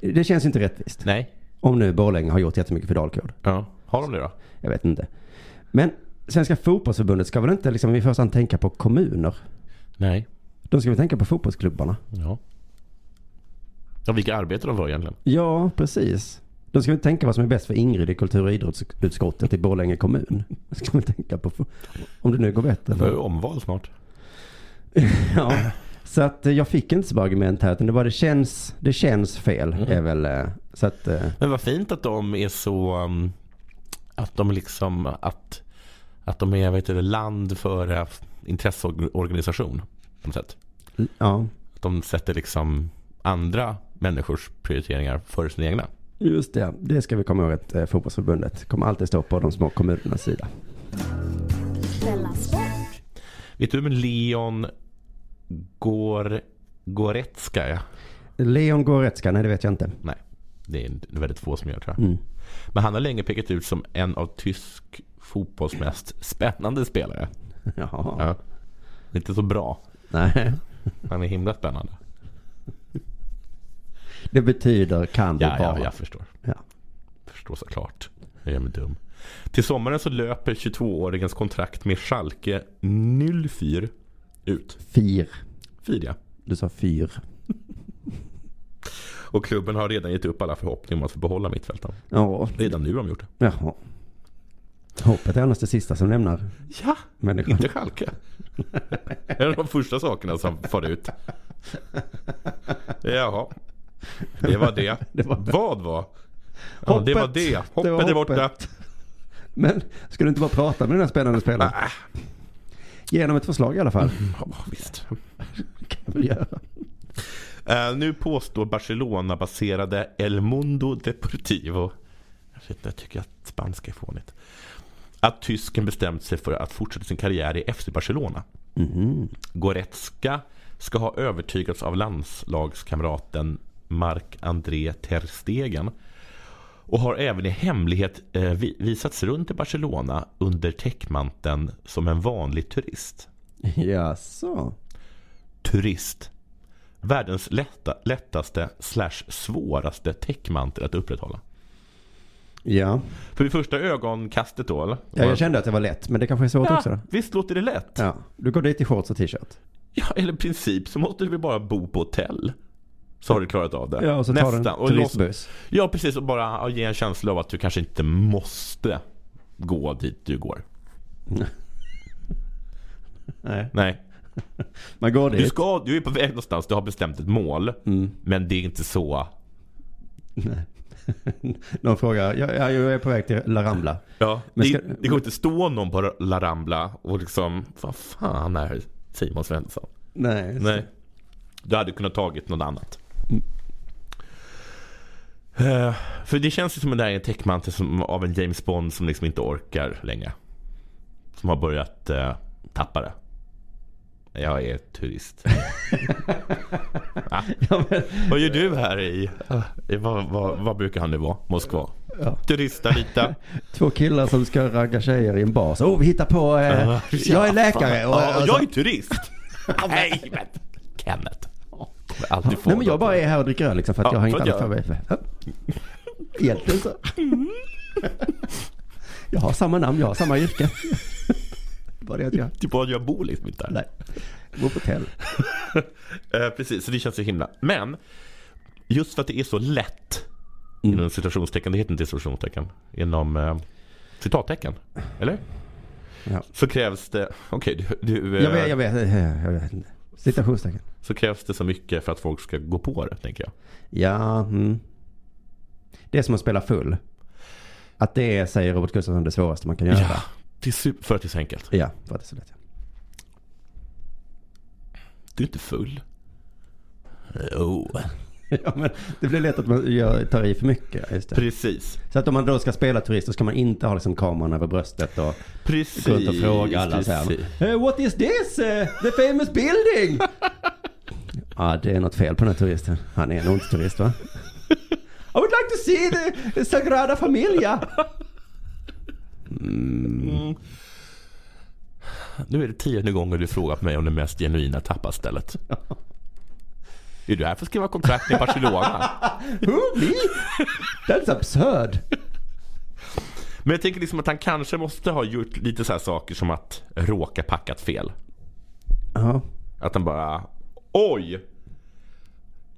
Speaker 3: det känns inte rättvist.
Speaker 4: Nej.
Speaker 3: Om nu Borlänge har gjort jättemycket för Dalkurd.
Speaker 4: Ja. Har de det då?
Speaker 3: Jag vet inte. Men Svenska Fotbollsförbundet ska väl inte liksom i första hand tänka på kommuner?
Speaker 4: Nej.
Speaker 3: De ska väl tänka på fotbollsklubbarna?
Speaker 4: Ja. Ja, vilka arbeten de var egentligen.
Speaker 3: Ja, precis. De ska väl tänka vad som är bäst för Ingrid i kultur och idrottsutskottet i Borlänge kommun. Då Ska man tänka på fo- om det nu går bättre.
Speaker 4: Det var ju omval snart.
Speaker 3: Ja. Så att eh, jag fick inte så bra argument här utan det bara det känns, det känns fel.
Speaker 4: Mm.
Speaker 3: Är väl, eh, så att, eh,
Speaker 4: Men vad fint att de är så... um, Att de liksom... Att, att de är vad heter det, land för eh, intresseorganisation. På något sätt.
Speaker 3: ja.
Speaker 4: Att de sätter liksom andra människors prioriteringar före sina egna.
Speaker 3: Just det, det ska vi komma ihåg att eh, fotbollsförbundet kommer alltid stå på de små kommunernas sida.
Speaker 5: Della Sport.
Speaker 4: Vet du vem Leon Gor... Goretzka är?
Speaker 3: Leon Goretzka, nej det vet jag inte.
Speaker 4: Nej, det är väldigt få som gör tror jag.
Speaker 3: Mm.
Speaker 4: Men han har länge pekat ut som en av tysk fotbolls mest spännande spelare.
Speaker 3: Jaha.
Speaker 4: Ja. Inte så bra.
Speaker 3: Nej.
Speaker 4: Han är himla spännande.
Speaker 3: Det betyder kan du
Speaker 4: Ja,
Speaker 3: bara.
Speaker 4: ja, jag förstår.
Speaker 3: Ja.
Speaker 4: Förstår såklart. Jag är mig dum. Till sommaren så löper 22-åringens kontrakt med Schalke 04 ut.
Speaker 3: Fyr.
Speaker 4: Fyr ja.
Speaker 3: Du sa fyr.
Speaker 4: Och klubben har redan gett upp alla förhoppningar om att få behålla mittfältaren.
Speaker 3: Ja.
Speaker 4: Redan nu har de gjort det.
Speaker 3: Jaha. Hoppet är annars det sista som lämnar
Speaker 4: Ja,
Speaker 3: människan.
Speaker 4: inte Schalke. en av de första sakerna som far ut. Jaha. Det var det. Vad var? Ja, det var
Speaker 3: Hoppet.
Speaker 4: det. Hoppet,
Speaker 3: Det var
Speaker 4: är borta.
Speaker 3: hoppet. Men ska du inte bara prata med den här spännande spelaren?
Speaker 4: Ah.
Speaker 3: Genom ett förslag i alla fall.
Speaker 4: Ja, visst.
Speaker 3: kan vi göra.
Speaker 4: Eh, nu påstår Barcelona-baserade El Mundo Deportivo. Jag vet inte, jag tycker att spanska är fånigt. Att tysken bestämt sig för att fortsätta sin karriär i FC Barcelona. Goretzka ska ha övertygats av landslagskamraten Marc-André Ter Stegen och har även i hemlighet eh, vi- visats runt i Barcelona under täckmanteln som en vanlig turist.
Speaker 3: Jaså?
Speaker 4: Turist. Världens lätta, lättaste slash svåraste täckmantel att upprätthålla.
Speaker 3: Ja.
Speaker 4: För vid första ögonkastet då eller?
Speaker 3: ja, jag kände att det var lätt men det kanske är svårt
Speaker 4: Ja,
Speaker 3: också då.
Speaker 4: visst låter det lätt?
Speaker 3: Ja, du går dit i shorts och t-shirt.
Speaker 4: Ja, eller i princip så måste du väl bara bo på hotell. Så har du klarat av det.
Speaker 3: Ja, och så tar du en
Speaker 4: Och låt-
Speaker 3: turistbuss.
Speaker 4: Ja, precis. Och bara ja, ge en känsla av att du kanske inte måste gå dit du går.
Speaker 3: Nej.
Speaker 4: Nej.
Speaker 3: Man går
Speaker 4: Du,
Speaker 3: dit.
Speaker 4: ska, du är på väg någonstans, du har bestämt ett mål.
Speaker 3: Mm.
Speaker 4: Men det är inte så...
Speaker 3: Någon frågar, jag, jag jag är på väg till La Rambla.
Speaker 4: Ja,
Speaker 3: Men
Speaker 4: det,
Speaker 3: ska-
Speaker 4: det går inte stå någon på La Rambla och liksom, vad fan är Simon Svensson?
Speaker 3: Nej, just
Speaker 4: Nej. Du hade kunnat tagit något annat. Eh, för det känns ju som att det här är en täckmantel som, av en James Bond som liksom inte orkar längre. Som har börjat eh, tappa det. Jag är turist. Ah. Vad gör du här i, i vad, vad, vad brukar han nu vara? Moskva?
Speaker 3: Ja.
Speaker 4: Turista lite.
Speaker 3: Två killar som ska ragga tjejer i en bar. Så, oh, vi hittar på, eh, jag är läkare.
Speaker 4: Och,
Speaker 3: Och,
Speaker 4: och,
Speaker 3: och så-
Speaker 4: jag är turist. Nej men Kenneth. Kommer Aldrig få
Speaker 3: Nej men
Speaker 4: något.
Speaker 3: jag bara är här och dricker öl liksom för att
Speaker 4: Ja,
Speaker 3: jag har
Speaker 4: för
Speaker 3: inget
Speaker 4: att
Speaker 3: annat för mig. Ja. Egentligen så. Jag har samma namn, jag har samma yrke. Bara det att jag
Speaker 4: Typ att jag bor liksom inte där.
Speaker 3: Nej. bor på hotell.
Speaker 4: Eh, precis, så det känns ju himla. Men just för att det är så lätt
Speaker 3: Mm.
Speaker 4: inom situationstecken, det heter inte situationstecken, inom eh, citattecken, eller?
Speaker 3: Ja.
Speaker 4: Så krävs det, okej du, du eh,
Speaker 3: Jag vet, jag vet, eh, jag vet. inte. Citationstecken.
Speaker 4: så krävs det så mycket för att folk ska gå på det tänker jag.
Speaker 3: Ja, mm. Det är som att spela full. Att det är, säger Robert Gustafsson, det svåraste man kan göra.
Speaker 4: Ja, det är super, för att det är så enkelt.
Speaker 3: Ja, för att det är så lätt.
Speaker 4: Du är inte full. Jo.
Speaker 3: Oh. Ja, men det blir lätt att man gör, tar i för mycket. Just det.
Speaker 4: Precis.
Speaker 3: Så att om man då ska spela turist så ska man inte ha liksom kameran över bröstet och
Speaker 4: Precis,
Speaker 3: gå runt och fråga alla så här.
Speaker 4: precis.
Speaker 3: "Eh, what is this? Eh, the famous building? ja, det är något fel på den här turisten. Han är nog inte turist va? I would like to see the Sagrada Familia.
Speaker 4: Mm. Nu är det tionde gången du frågat mig om det mest genuina tapasstället. Är du här för att skriva kontrakt med Barcelona?
Speaker 3: Who me? That's absurd.
Speaker 4: Men jag tänker liksom att han kanske måste ha gjort lite så här saker som att råka packat fel.
Speaker 3: Ja,
Speaker 4: Att han bara Oj!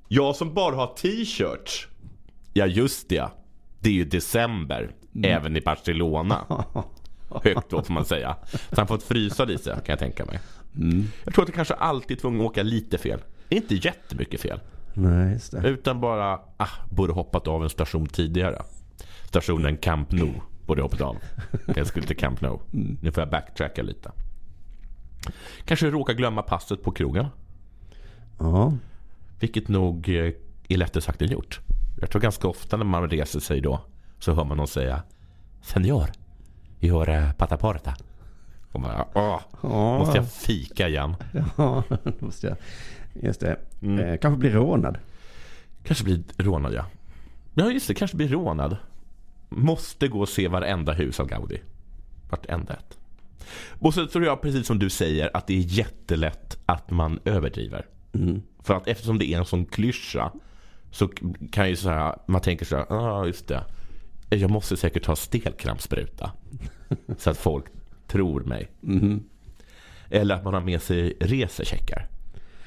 Speaker 4: Jag som bara har t-shirts. Ja just det. Det är ju december. Även i Barcelona. Högt då får man säga. Så han fått frysa lite kan jag tänka mig. Jag tror att det kanske alltid är tvungen att åka lite fel. Inte jättemycket fel.
Speaker 3: nej just det.
Speaker 4: Utan bara, ah, borde hoppat av en station tidigare. Stationen Camp Nou borde hoppat av. Jag skulle till Camp Nou. Nu får jag backtracka lite. Kanske råkar glömma passet på krogen.
Speaker 3: Ja,
Speaker 4: Vilket nog eh, är lättare sagt än gjort. Jag tror ganska ofta när man reser sig då så hör man någon säga Senor, gör eh, pataporta. Och man, bara, åh,
Speaker 3: Ja.
Speaker 4: måste jag fika igen?
Speaker 3: ja, då måste jag. Just det. Eh, kanske bli rånad.
Speaker 4: Kanske blir rånad ja. Ja just det, kanske blir rånad. Måste gå och se varenda hus av Gaudi. Vartenda ett. Och så tror jag precis som du säger att det är jättelätt att man överdriver. För att eftersom det är en sån klyscha så kan ju så här, man tänker så här, ja ah, just det. jag måste säkert ha stelkrampsspruta. så att folk tror mig. Eller att man har med sig resecheckar.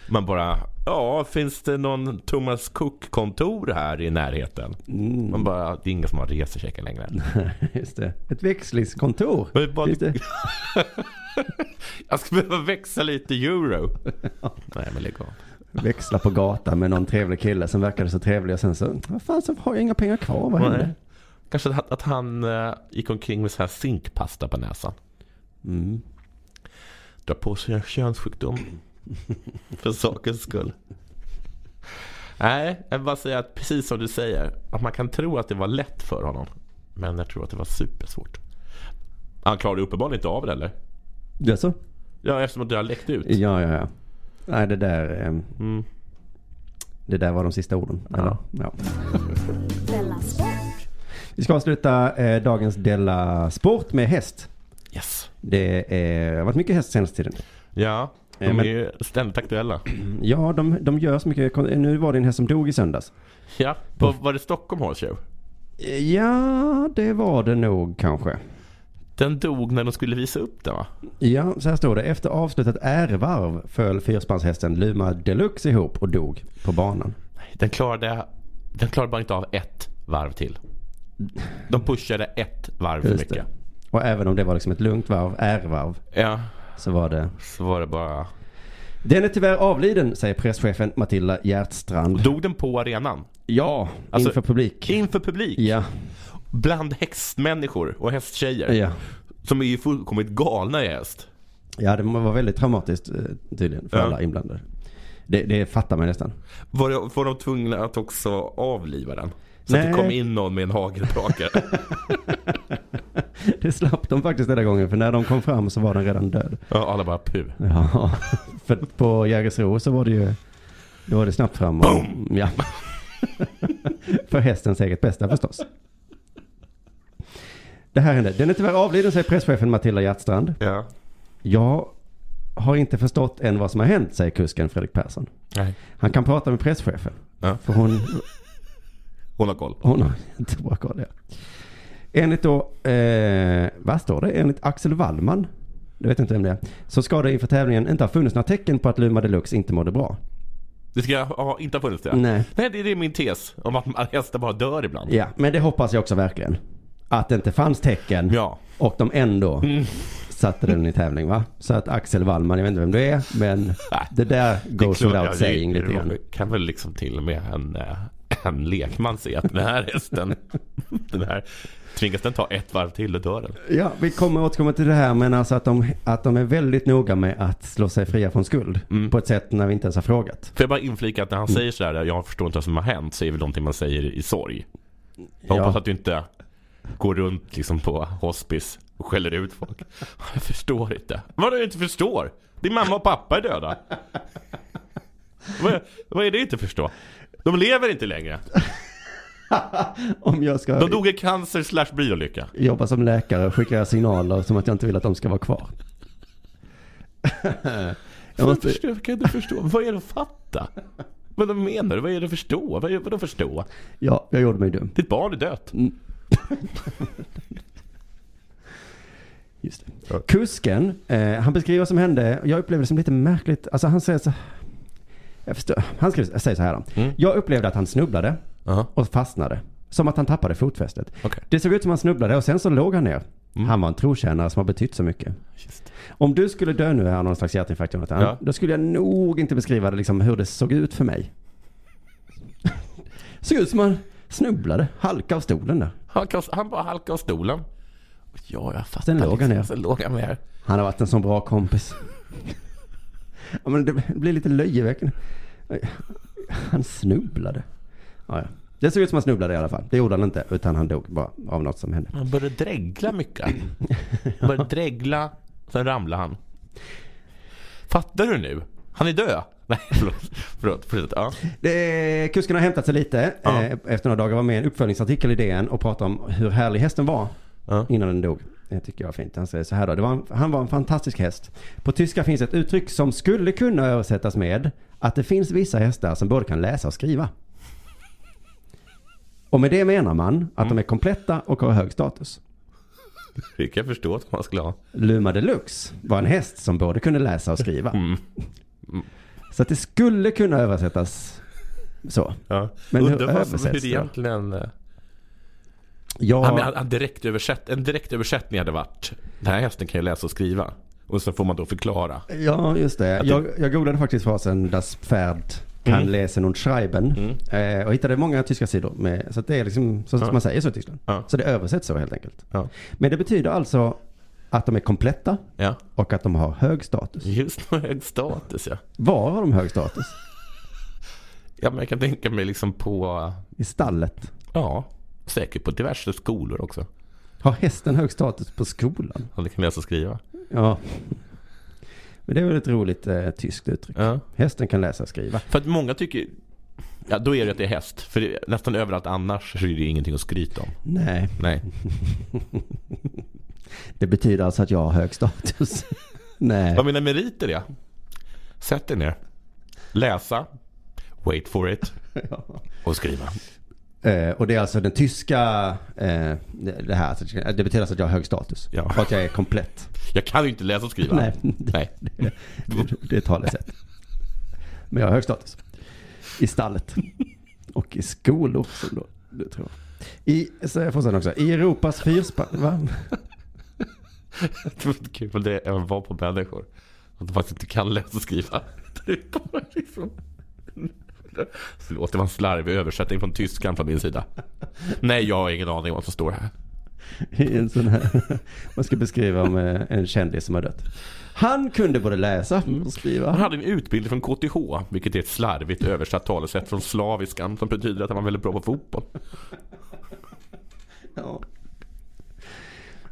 Speaker 4: Man bara, ja finns det någon Thomas Cook-kontor här i närheten? Man bara, det är ingen som har resecheckar längre.
Speaker 3: Just det. Ett växlingskontor. Finns det?
Speaker 4: Jag ska behöva växa lite euro. Nej men lägg av.
Speaker 3: Växla på gatan med någon trevlig kille som verkade så trevlig och sen så, vad fan så har jag inga pengar kvar, vad
Speaker 4: Nej.
Speaker 3: händer?
Speaker 4: Kanske att, att han eh, gick omkring med så här zinkpasta på näsan.
Speaker 3: Mm.
Speaker 4: Dra på sig en könssjukdom. För sakens skull. Nej, jag vill bara säga att precis som du säger. Att man kan tro att det var lätt för honom. Men jag tror att det var supersvårt. Han klarade uppenbarligen inte av det eller?
Speaker 3: Jaså?
Speaker 4: Ja, eftersom att det har läckt ut.
Speaker 3: Ja, ja, ja. Nej, det där... ehm, Det där var de sista orden. Eller? Ja.
Speaker 5: Della Sport.
Speaker 3: Vi ska avsluta eh, dagens Della Sport med häst.
Speaker 4: Yes.
Speaker 3: Det eh, har varit mycket häst senaste tiden.
Speaker 4: Ja, de
Speaker 3: Eh, men-
Speaker 4: är ju ständigt aktuella.
Speaker 3: Ja, de, de gör så mycket. kon- Nu var det en häst som dog i söndags.
Speaker 4: Ja, var, var det Stockholm Horse Show?
Speaker 3: Eh, Ja, det var det nog kanske.
Speaker 4: Den dog när de skulle visa upp den va?
Speaker 3: Ja, så här står det. Efter avslutat ärevarv föll fyrspanshästen Luma Deluxe ihop och dog på banan.
Speaker 4: Den klarade, den klarade bara inte av ett varv till. De pushade ett varv för
Speaker 3: Just det.
Speaker 4: mycket.
Speaker 3: Och även om det var liksom ett lugnt varv, ärevarv,
Speaker 4: Ja,
Speaker 3: så var det...
Speaker 4: så var det bara...
Speaker 3: Den är tyvärr avliden, säger presschefen Matilda Hjärtstrand.
Speaker 4: Dog den på arenan?
Speaker 3: Ja,
Speaker 4: Alltså,
Speaker 3: inför publik.
Speaker 4: Inför publik?
Speaker 3: Ja.
Speaker 4: Bland hästmänniskor och hästtjejer?
Speaker 3: Ja.
Speaker 4: Som är ju fullkomligt galna i häst.
Speaker 3: ja, det var väldigt traumatiskt eh, tydligen för
Speaker 4: Ja.
Speaker 3: alla inblandade. Det, det fattar man nästan.
Speaker 4: Var, det, var de tvungna att också avliva den? Så att det
Speaker 3: Nej.
Speaker 4: kom in någon med en hagelbrakare?
Speaker 3: Det slapp de faktiskt den där gången, för när de kom fram så var den redan död.
Speaker 4: ja, alla bara pu.
Speaker 3: Ja, för på Jägersro så var det ju, då var det snabbt fram. Och, ja. för hästens eget bästa förstås. Det här hände. Den är tyvärr avliden, säger presschefen Matilda Hjärtstrand.
Speaker 4: Ja.
Speaker 3: Jag har inte förstått än vad som har hänt, säger kusken Fredrik Persson.
Speaker 4: Nej.
Speaker 3: Han kan prata med presschefen.
Speaker 4: Ja.
Speaker 3: För hon,
Speaker 4: Hon har koll.
Speaker 3: hon har jättebra koll. Ja. Enligt då, eh, vad står det? Enligt Axel Wallman, du vet inte vem det är, så ska det inför tävlingen inte ha funnits några tecken på att Luma Deluxe inte mådde bra.
Speaker 4: Det ska ja, inte ha funnits det?
Speaker 3: Nej.
Speaker 4: Nej, det det är min tes. Om att hästar bara dör ibland.
Speaker 3: Ja, men det hoppas jag också verkligen. Att det inte fanns tecken
Speaker 4: Ja. Mm.
Speaker 3: och de ändå satte den i tävling va? Så att Axel Wallman, jag vet inte vem du är, men det där goes
Speaker 4: klart-
Speaker 3: without
Speaker 4: ja, det-
Speaker 3: saying lite grann.
Speaker 4: det kan väl liksom till och med en, eh, en lekman se att den här hästen, den här, tvingas den ta ett varv till och dör den.
Speaker 3: Ja, vi kommer återkomma till det här men alltså att de, att de är väldigt noga med att slå sig fria från skuld. På ett sätt när vi inte ens har frågat.
Speaker 4: Får jag bara inflika att när han säger sådär, jag förstår inte vad som har hänt, så är väl någonting man säger i sorg. Jag
Speaker 3: Ja.
Speaker 4: hoppas att du inte går runt liksom på hospice och skäller ut folk. Jag förstår inte. Vad du inte förstår? Din mamma och pappa är döda. vad, vad är det inte förstå? De lever inte längre.
Speaker 3: Om jag ska
Speaker 4: De dog i cancer slash bilolycka.
Speaker 3: jobba som läkare skickar jag signaler som att jag inte vill att de ska vara kvar. jag måste,
Speaker 4: Förstå, kan jag inte förstå. Vad är det att fatta? Vad menar du? Vad är det att förstå? Vad är vad är det att förstå?
Speaker 3: ja, jag gjorde mig dum.
Speaker 4: Ditt barn är dött.
Speaker 3: Mm. Just det. Kusken, eh, han beskriver vad som hände. Jag upplevde det som lite märkligt. Alltså han säger så jag förstår. Han skriver, säger så här då.
Speaker 4: Mm.
Speaker 3: Jag upplevde att han snubblade och fastnade. Som att han tappade fotfästet.
Speaker 4: Okej. Mm.
Speaker 3: Det såg ut som han snubblade och sen så låg han ner. Han var en trotjänare som har betytt så mycket. Om du skulle dö nu här av någon slags hjärtinfarkt Jonathan,
Speaker 4: Ja.
Speaker 3: då skulle jag nog inte beskriva det, liksom, hur det såg ut för mig. såg ut som han snubblade, halkade av stolen där.
Speaker 4: Han, kan- han bara halkade av stolen. Ja, jag fattar.
Speaker 3: Sen låg han ner.
Speaker 4: Sen låg han ner.
Speaker 3: Han har varit en sån bra kompis. ja, men det blir lite löjeväckande. Han snubblade. Ja, ja. Det såg ut som han snubblade i alla fall. Det gjorde han inte, utan han dog bara av något som hände.
Speaker 4: Han började dregla mycket. Han började dregla, sen ramlade han. Fattar du nu? Han är död. Nej, förlåt. Förlåt, förlåt. Ja.
Speaker 3: Det, kusken har hämtat sig lite
Speaker 4: Ja.
Speaker 3: eh, efter några dagar. var med i en uppföljningsartikel i DN och pratade om hur härlig hästen var innan den dog. Det tycker jag är fint. Han säger så här då. Det var en, han var en fantastisk häst. På tyska finns ett uttryck som skulle kunna översättas med att det finns vissa hästar som både kan läsa och skriva. Och med det menar man att
Speaker 4: Mm.
Speaker 3: de är kompletta och har hög status.
Speaker 4: Det kan jag förstå att man skulle ha.
Speaker 3: Luma Deluxe var en häst som både kunde läsa och skriva.
Speaker 4: Mm.
Speaker 3: Så att det skulle kunna översättas så.
Speaker 4: Ja.
Speaker 3: Men hur
Speaker 4: Undrar varför-
Speaker 3: översätts
Speaker 4: hur
Speaker 3: det då?
Speaker 4: det egentligen... eh,
Speaker 3: Ja,
Speaker 4: Ja, men en, direktöversätt, en direktöversättning hade varit Den här hästen kan ju läsa och skriva. Och sen får man då förklara.
Speaker 3: ja just det.
Speaker 4: Att
Speaker 3: Jag, jag googlade faktiskt frasen Das Pferd kan
Speaker 4: Mm.
Speaker 3: lesen und schreiben. Eh, och hittade många tyska sidor. Med, så att det är liksom så att
Speaker 4: Ja.
Speaker 3: man säger så i Tyskland.
Speaker 4: Ja.
Speaker 3: Så det översätts så helt enkelt. Men det betyder alltså att de är kompletta
Speaker 4: Ja.
Speaker 3: och att de har hög status.
Speaker 4: Just med hög status ja.
Speaker 3: Var har de hög status?
Speaker 4: ja men jag kan tänka mig liksom på...
Speaker 3: I stallet.
Speaker 4: Ja, säkert på diverse skolor också.
Speaker 3: Har hästen hög status på skolan?
Speaker 4: Ja, det kan läsa och skriva.
Speaker 3: Ja. Men det är väl ett roligt eh, tyskt uttryck. Hästen kan läsa och skriva.
Speaker 4: För att många tycker... Ja, då är det att det är häst. För det, nästan överallt annars så är det ju ingenting att skryta om.
Speaker 3: Nej.
Speaker 4: Nej.
Speaker 3: Det betyder alltså att jag har hög status. Nej.
Speaker 4: Vad mina meriter är? Sätt dig ner. Läsa. Wait for it. Och skriva.
Speaker 3: Eh, och det är alltså den tyska, eh, det det här, alltså, det betyder alltså att jag har hög status.
Speaker 4: Ja.
Speaker 3: Och att jag är komplett.
Speaker 4: Jag kan ju inte läsa och skriva.
Speaker 3: Nej.
Speaker 4: Nej.
Speaker 3: Det, det är ett talesätt. Men jag har hög status. I stallet. Och i skolor som då, det tror jag. I, så jag får sen också, i Europas fyrspann, va?
Speaker 4: Det var kul det även var på människor. Att de faktiskt inte kan läsa och skriva. Det är bara liksom... Förlåt, det var en slarvig översättning från tyskan från min sida. Nej, jag har ingen aning om vad som står här.
Speaker 3: I en sån här, man ska beskriva om eh, en kändis som har dött. Han kunde både läsa och skriva.
Speaker 4: Han hade en utbildning från KTH, vilket är ett slarvigt översatt talesätt från slaviskan som betyder att han var väldigt bra på fotboll.
Speaker 3: Ja.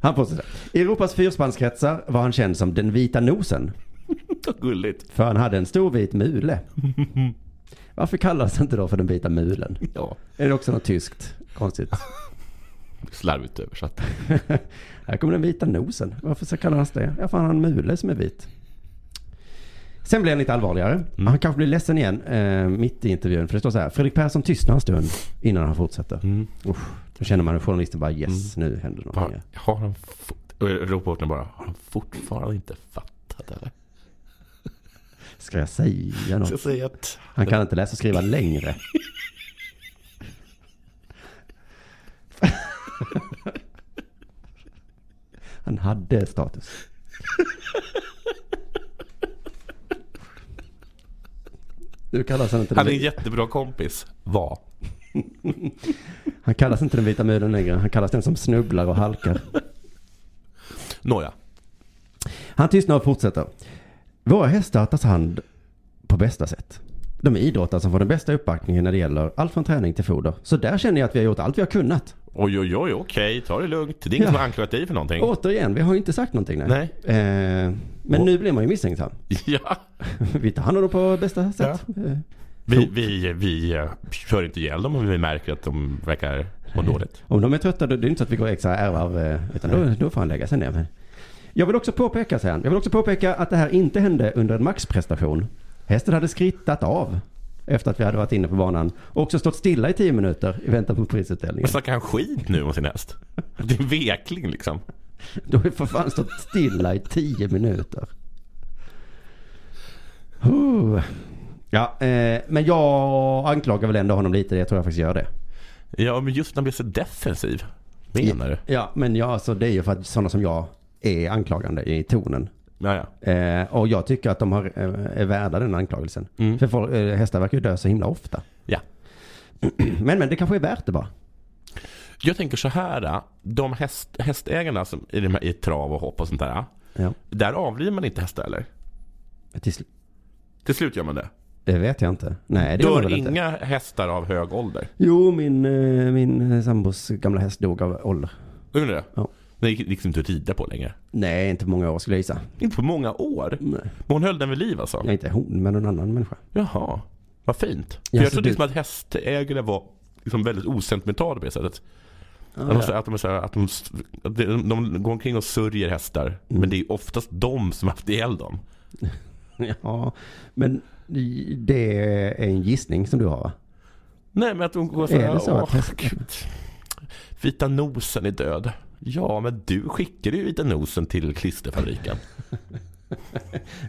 Speaker 3: Han påstår det. I Europas fyrspannskretsar var han känd som den vita nosen.
Speaker 4: Gulligt.
Speaker 3: För han hade en stor vit mule. Varför kallas han inte då för den vita mulen?
Speaker 4: Ja.
Speaker 3: Är det också något tyskt konstigt?
Speaker 4: Slarvigt översatt.
Speaker 3: Här kommer den vita nosen. Varför så kallas han det? Ja, för han har en mule som är vit. Sen blir han lite allvarligare. Han kanske blir ledsen igen eh, mitt i intervjun. För det står så här. Fredrik Persson tystnar en stund innan han fortsätter. Usch, då känner man hur journalisten bara yes, nu händer någonting.
Speaker 4: Har, har han... fort- Och Reportern bara, har han fortfarande inte fattat eller?
Speaker 3: Ska jag säga något?
Speaker 4: Ska jag säga att-
Speaker 3: Han kan inte läsa och skriva längre. Han hade status. Nu kallas han inte
Speaker 4: Han är
Speaker 3: den
Speaker 4: en
Speaker 3: vita-
Speaker 4: jättebra kompis. Var.
Speaker 3: Han kallas inte den vita mulen längre. Han kallas den som snubblar och halkar.
Speaker 4: Nåja.
Speaker 3: Han tystnar och fortsätter. Våra hästar tas hand på bästa sätt. De är idrottare som får den bästa uppbackningen när det gäller allt från träning till foder. Så där känner jag att vi har gjort allt vi har kunnat.
Speaker 4: Oj, oj, oj, okej. Ta det lugnt. Det är ingen
Speaker 3: Ja.
Speaker 4: som har anklagat dig för någonting.
Speaker 3: Återigen, vi har ju inte sagt någonting. Nej. Eh, men nu blir man ju misstänksam.
Speaker 4: Ja.
Speaker 3: vi tar hand om dem på bästa sätt. Eh,
Speaker 4: Vi, vi, vi eh, kör inte ihjäl dem om vi märker att de verkar må dåligt.
Speaker 3: Om de är trötta, då, det är inte så att vi går extra ärvarv. eh, Utan då, då får han lägga sig ner. Men jag vill också påpeka, säger han. Jag vill också påpeka att det här inte hände under en maxprestation. Hästen hade skrittat av efter att vi hade varit inne på banan. Och också stått stilla i tio minuter i väntan på prisutdelningen.
Speaker 4: Men snackar han skit nu om sin häst? Det är en vekling liksom.
Speaker 3: Då har ju för fan stått stilla i tio minuter. Oh. Ja, eh, men jag anklagar väl ändå honom lite. Jag tror jag faktiskt gör det.
Speaker 4: Ja, men just när han blir så defensiv. Menar du?
Speaker 3: Ja, men ja, alltså, det är ju för att sådana som jag är anklagande i tonen. Eh, och jag tycker att de har, eh, är värda den anklagelsen. För folk, eh, hästar verkar ju dö så himla ofta.
Speaker 4: Ja.
Speaker 3: Men, men det kanske är värt det bara.
Speaker 4: Jag tänker så här. eh, De häst, hästägarna som, i, de här, i trav och hopp och sånt där. eh,
Speaker 3: Ja.
Speaker 4: Där avlivar man inte hästar eller?
Speaker 3: Till, sl-
Speaker 4: Till slut gör man det.
Speaker 3: det vet jag inte. Nej, det gör man
Speaker 4: Dör
Speaker 3: väl inte.
Speaker 4: inga hästar av hög ålder?
Speaker 3: Jo, min, eh, min eh, sambos gamla häst dog av ålder.
Speaker 4: Gör det? Ja. Det gick liksom inte att rida på längre.
Speaker 3: Nej, inte på många år skulle jag gissa.
Speaker 4: Inte på många år?
Speaker 3: Nej.
Speaker 4: Men hon höll den vid liv alltså?
Speaker 3: Ja, inte hon, men någon annan människa.
Speaker 4: Jaha, vad fint. För
Speaker 3: Ja,
Speaker 4: jag
Speaker 3: så
Speaker 4: trodde
Speaker 3: du-
Speaker 4: liksom att hästägare var liksom väldigt osentimentala på det sättet.
Speaker 3: Ja,
Speaker 4: att, de,
Speaker 3: ja.
Speaker 4: så- att, de, är så här- att, de, att de, de går omkring och sörjer hästar.
Speaker 3: Mm.
Speaker 4: Men det är oftast de som har haft ihjäl dem.
Speaker 3: Ja, men det är en gissning som du har va?
Speaker 4: Nej, men att hon går så här.
Speaker 3: Är det så att
Speaker 4: "Åh, Gud. Vita nosen är död. Ja, men du skickade ju vita nosen till klisterfabriken.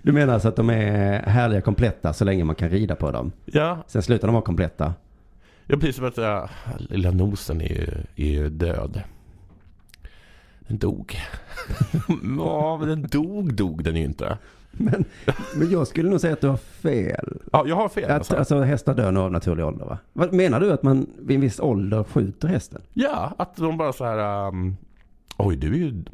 Speaker 3: Du menar alltså att de är härliga kompletta så länge man kan rida på dem?
Speaker 4: Ja.
Speaker 3: Sen slutar de vara kompletta?
Speaker 4: Jag blir som att äh, lilla nosen är ju, är ju död. Den dog. ja, men den dog dog den ju inte.
Speaker 3: Men, men jag skulle nog säga att du har fel.
Speaker 4: Ja, jag har fel.
Speaker 3: Att,
Speaker 4: alltså.
Speaker 3: alltså hästar dör nog av naturlig ålder va? Vad Menar du att man vid en viss ålder skjuter hästen?
Speaker 4: Ja, att de bara så här. ehm, Oj, du är ju...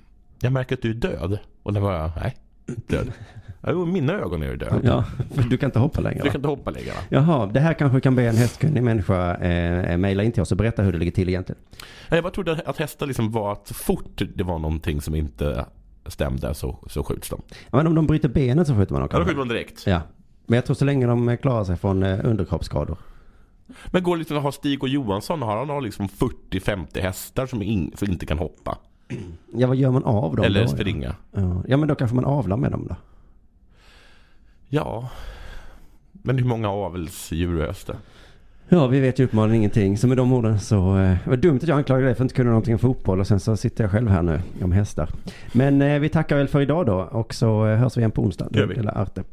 Speaker 4: Jag märker att du är död. Och den bara, nej, död. Ja, Jo, i mina ögon är du död.
Speaker 3: Ja, för du kan inte hoppa längre
Speaker 4: Du
Speaker 3: va?
Speaker 4: kan inte hoppa längre. va?
Speaker 3: Jaha, det här kanske kan be en hästkunnig människa eh, eh, mejla in till oss och berätta hur det ligger till egentligen.
Speaker 4: Nej, Jag bara trodde att hästar liksom var att så fort det var någonting som inte stämde så, så skjuts de.
Speaker 3: Ja, Men om de bryter benet så skjuter man dem
Speaker 4: Ja, då
Speaker 3: kanske?
Speaker 4: skjuter man direkt.
Speaker 3: Ja. Men jag tror så länge de eh, klarar sig från eh, underkroppsskador.
Speaker 4: Men går det liksom att ha Stig och Johansson? Har han har liksom 40-50 hästar som, in, som inte kan hoppa?
Speaker 3: Ja, vad gör man av dem
Speaker 4: Eller
Speaker 3: då?
Speaker 4: springa?
Speaker 3: Ja. ja, men då kanske man avlar med dem då.
Speaker 4: Ja. Men hur många avelsdjur behövs det?
Speaker 3: Ja, vi vet ju uppenbarligen ingenting. Så med de orden så... Eh, vad dumt att jag anklagade dig för att inte kunna någonting om fotboll och sen så sitter jag själv här nu om hästar. Men eh, vi tackar väl för idag då och så eh, hörs vi igen på onsdag.
Speaker 4: Det gör vi.
Speaker 3: Lilla Arte.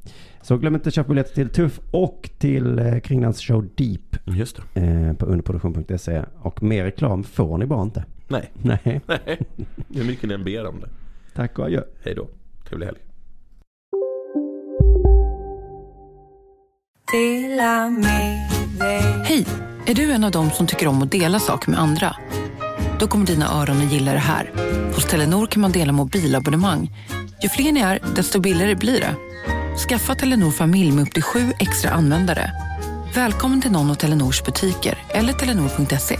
Speaker 3: Så glöm inte att köpa biljetter till Tuff och till eh, Kringlands show Deep
Speaker 4: Just det.
Speaker 3: eh, på underproduktion.se. Och mer reklam får ni bara inte.
Speaker 4: Nej.
Speaker 3: Nej.
Speaker 4: Nej. Hur mycket ni än ber om det.
Speaker 3: Tack och adjö.
Speaker 4: Hej då. Trevlig helg.
Speaker 15: Hej! Är du en av dem som tycker om att dela saker med andra? Då kommer dina öron att gilla det här. Hos Telenor kan man dela mobilabonnemang. Ju fler ni är, desto billigare blir det. Skaffa Telenor familj med upp till sju extra användare. Välkommen till någon av Telenors butiker eller telenor.se.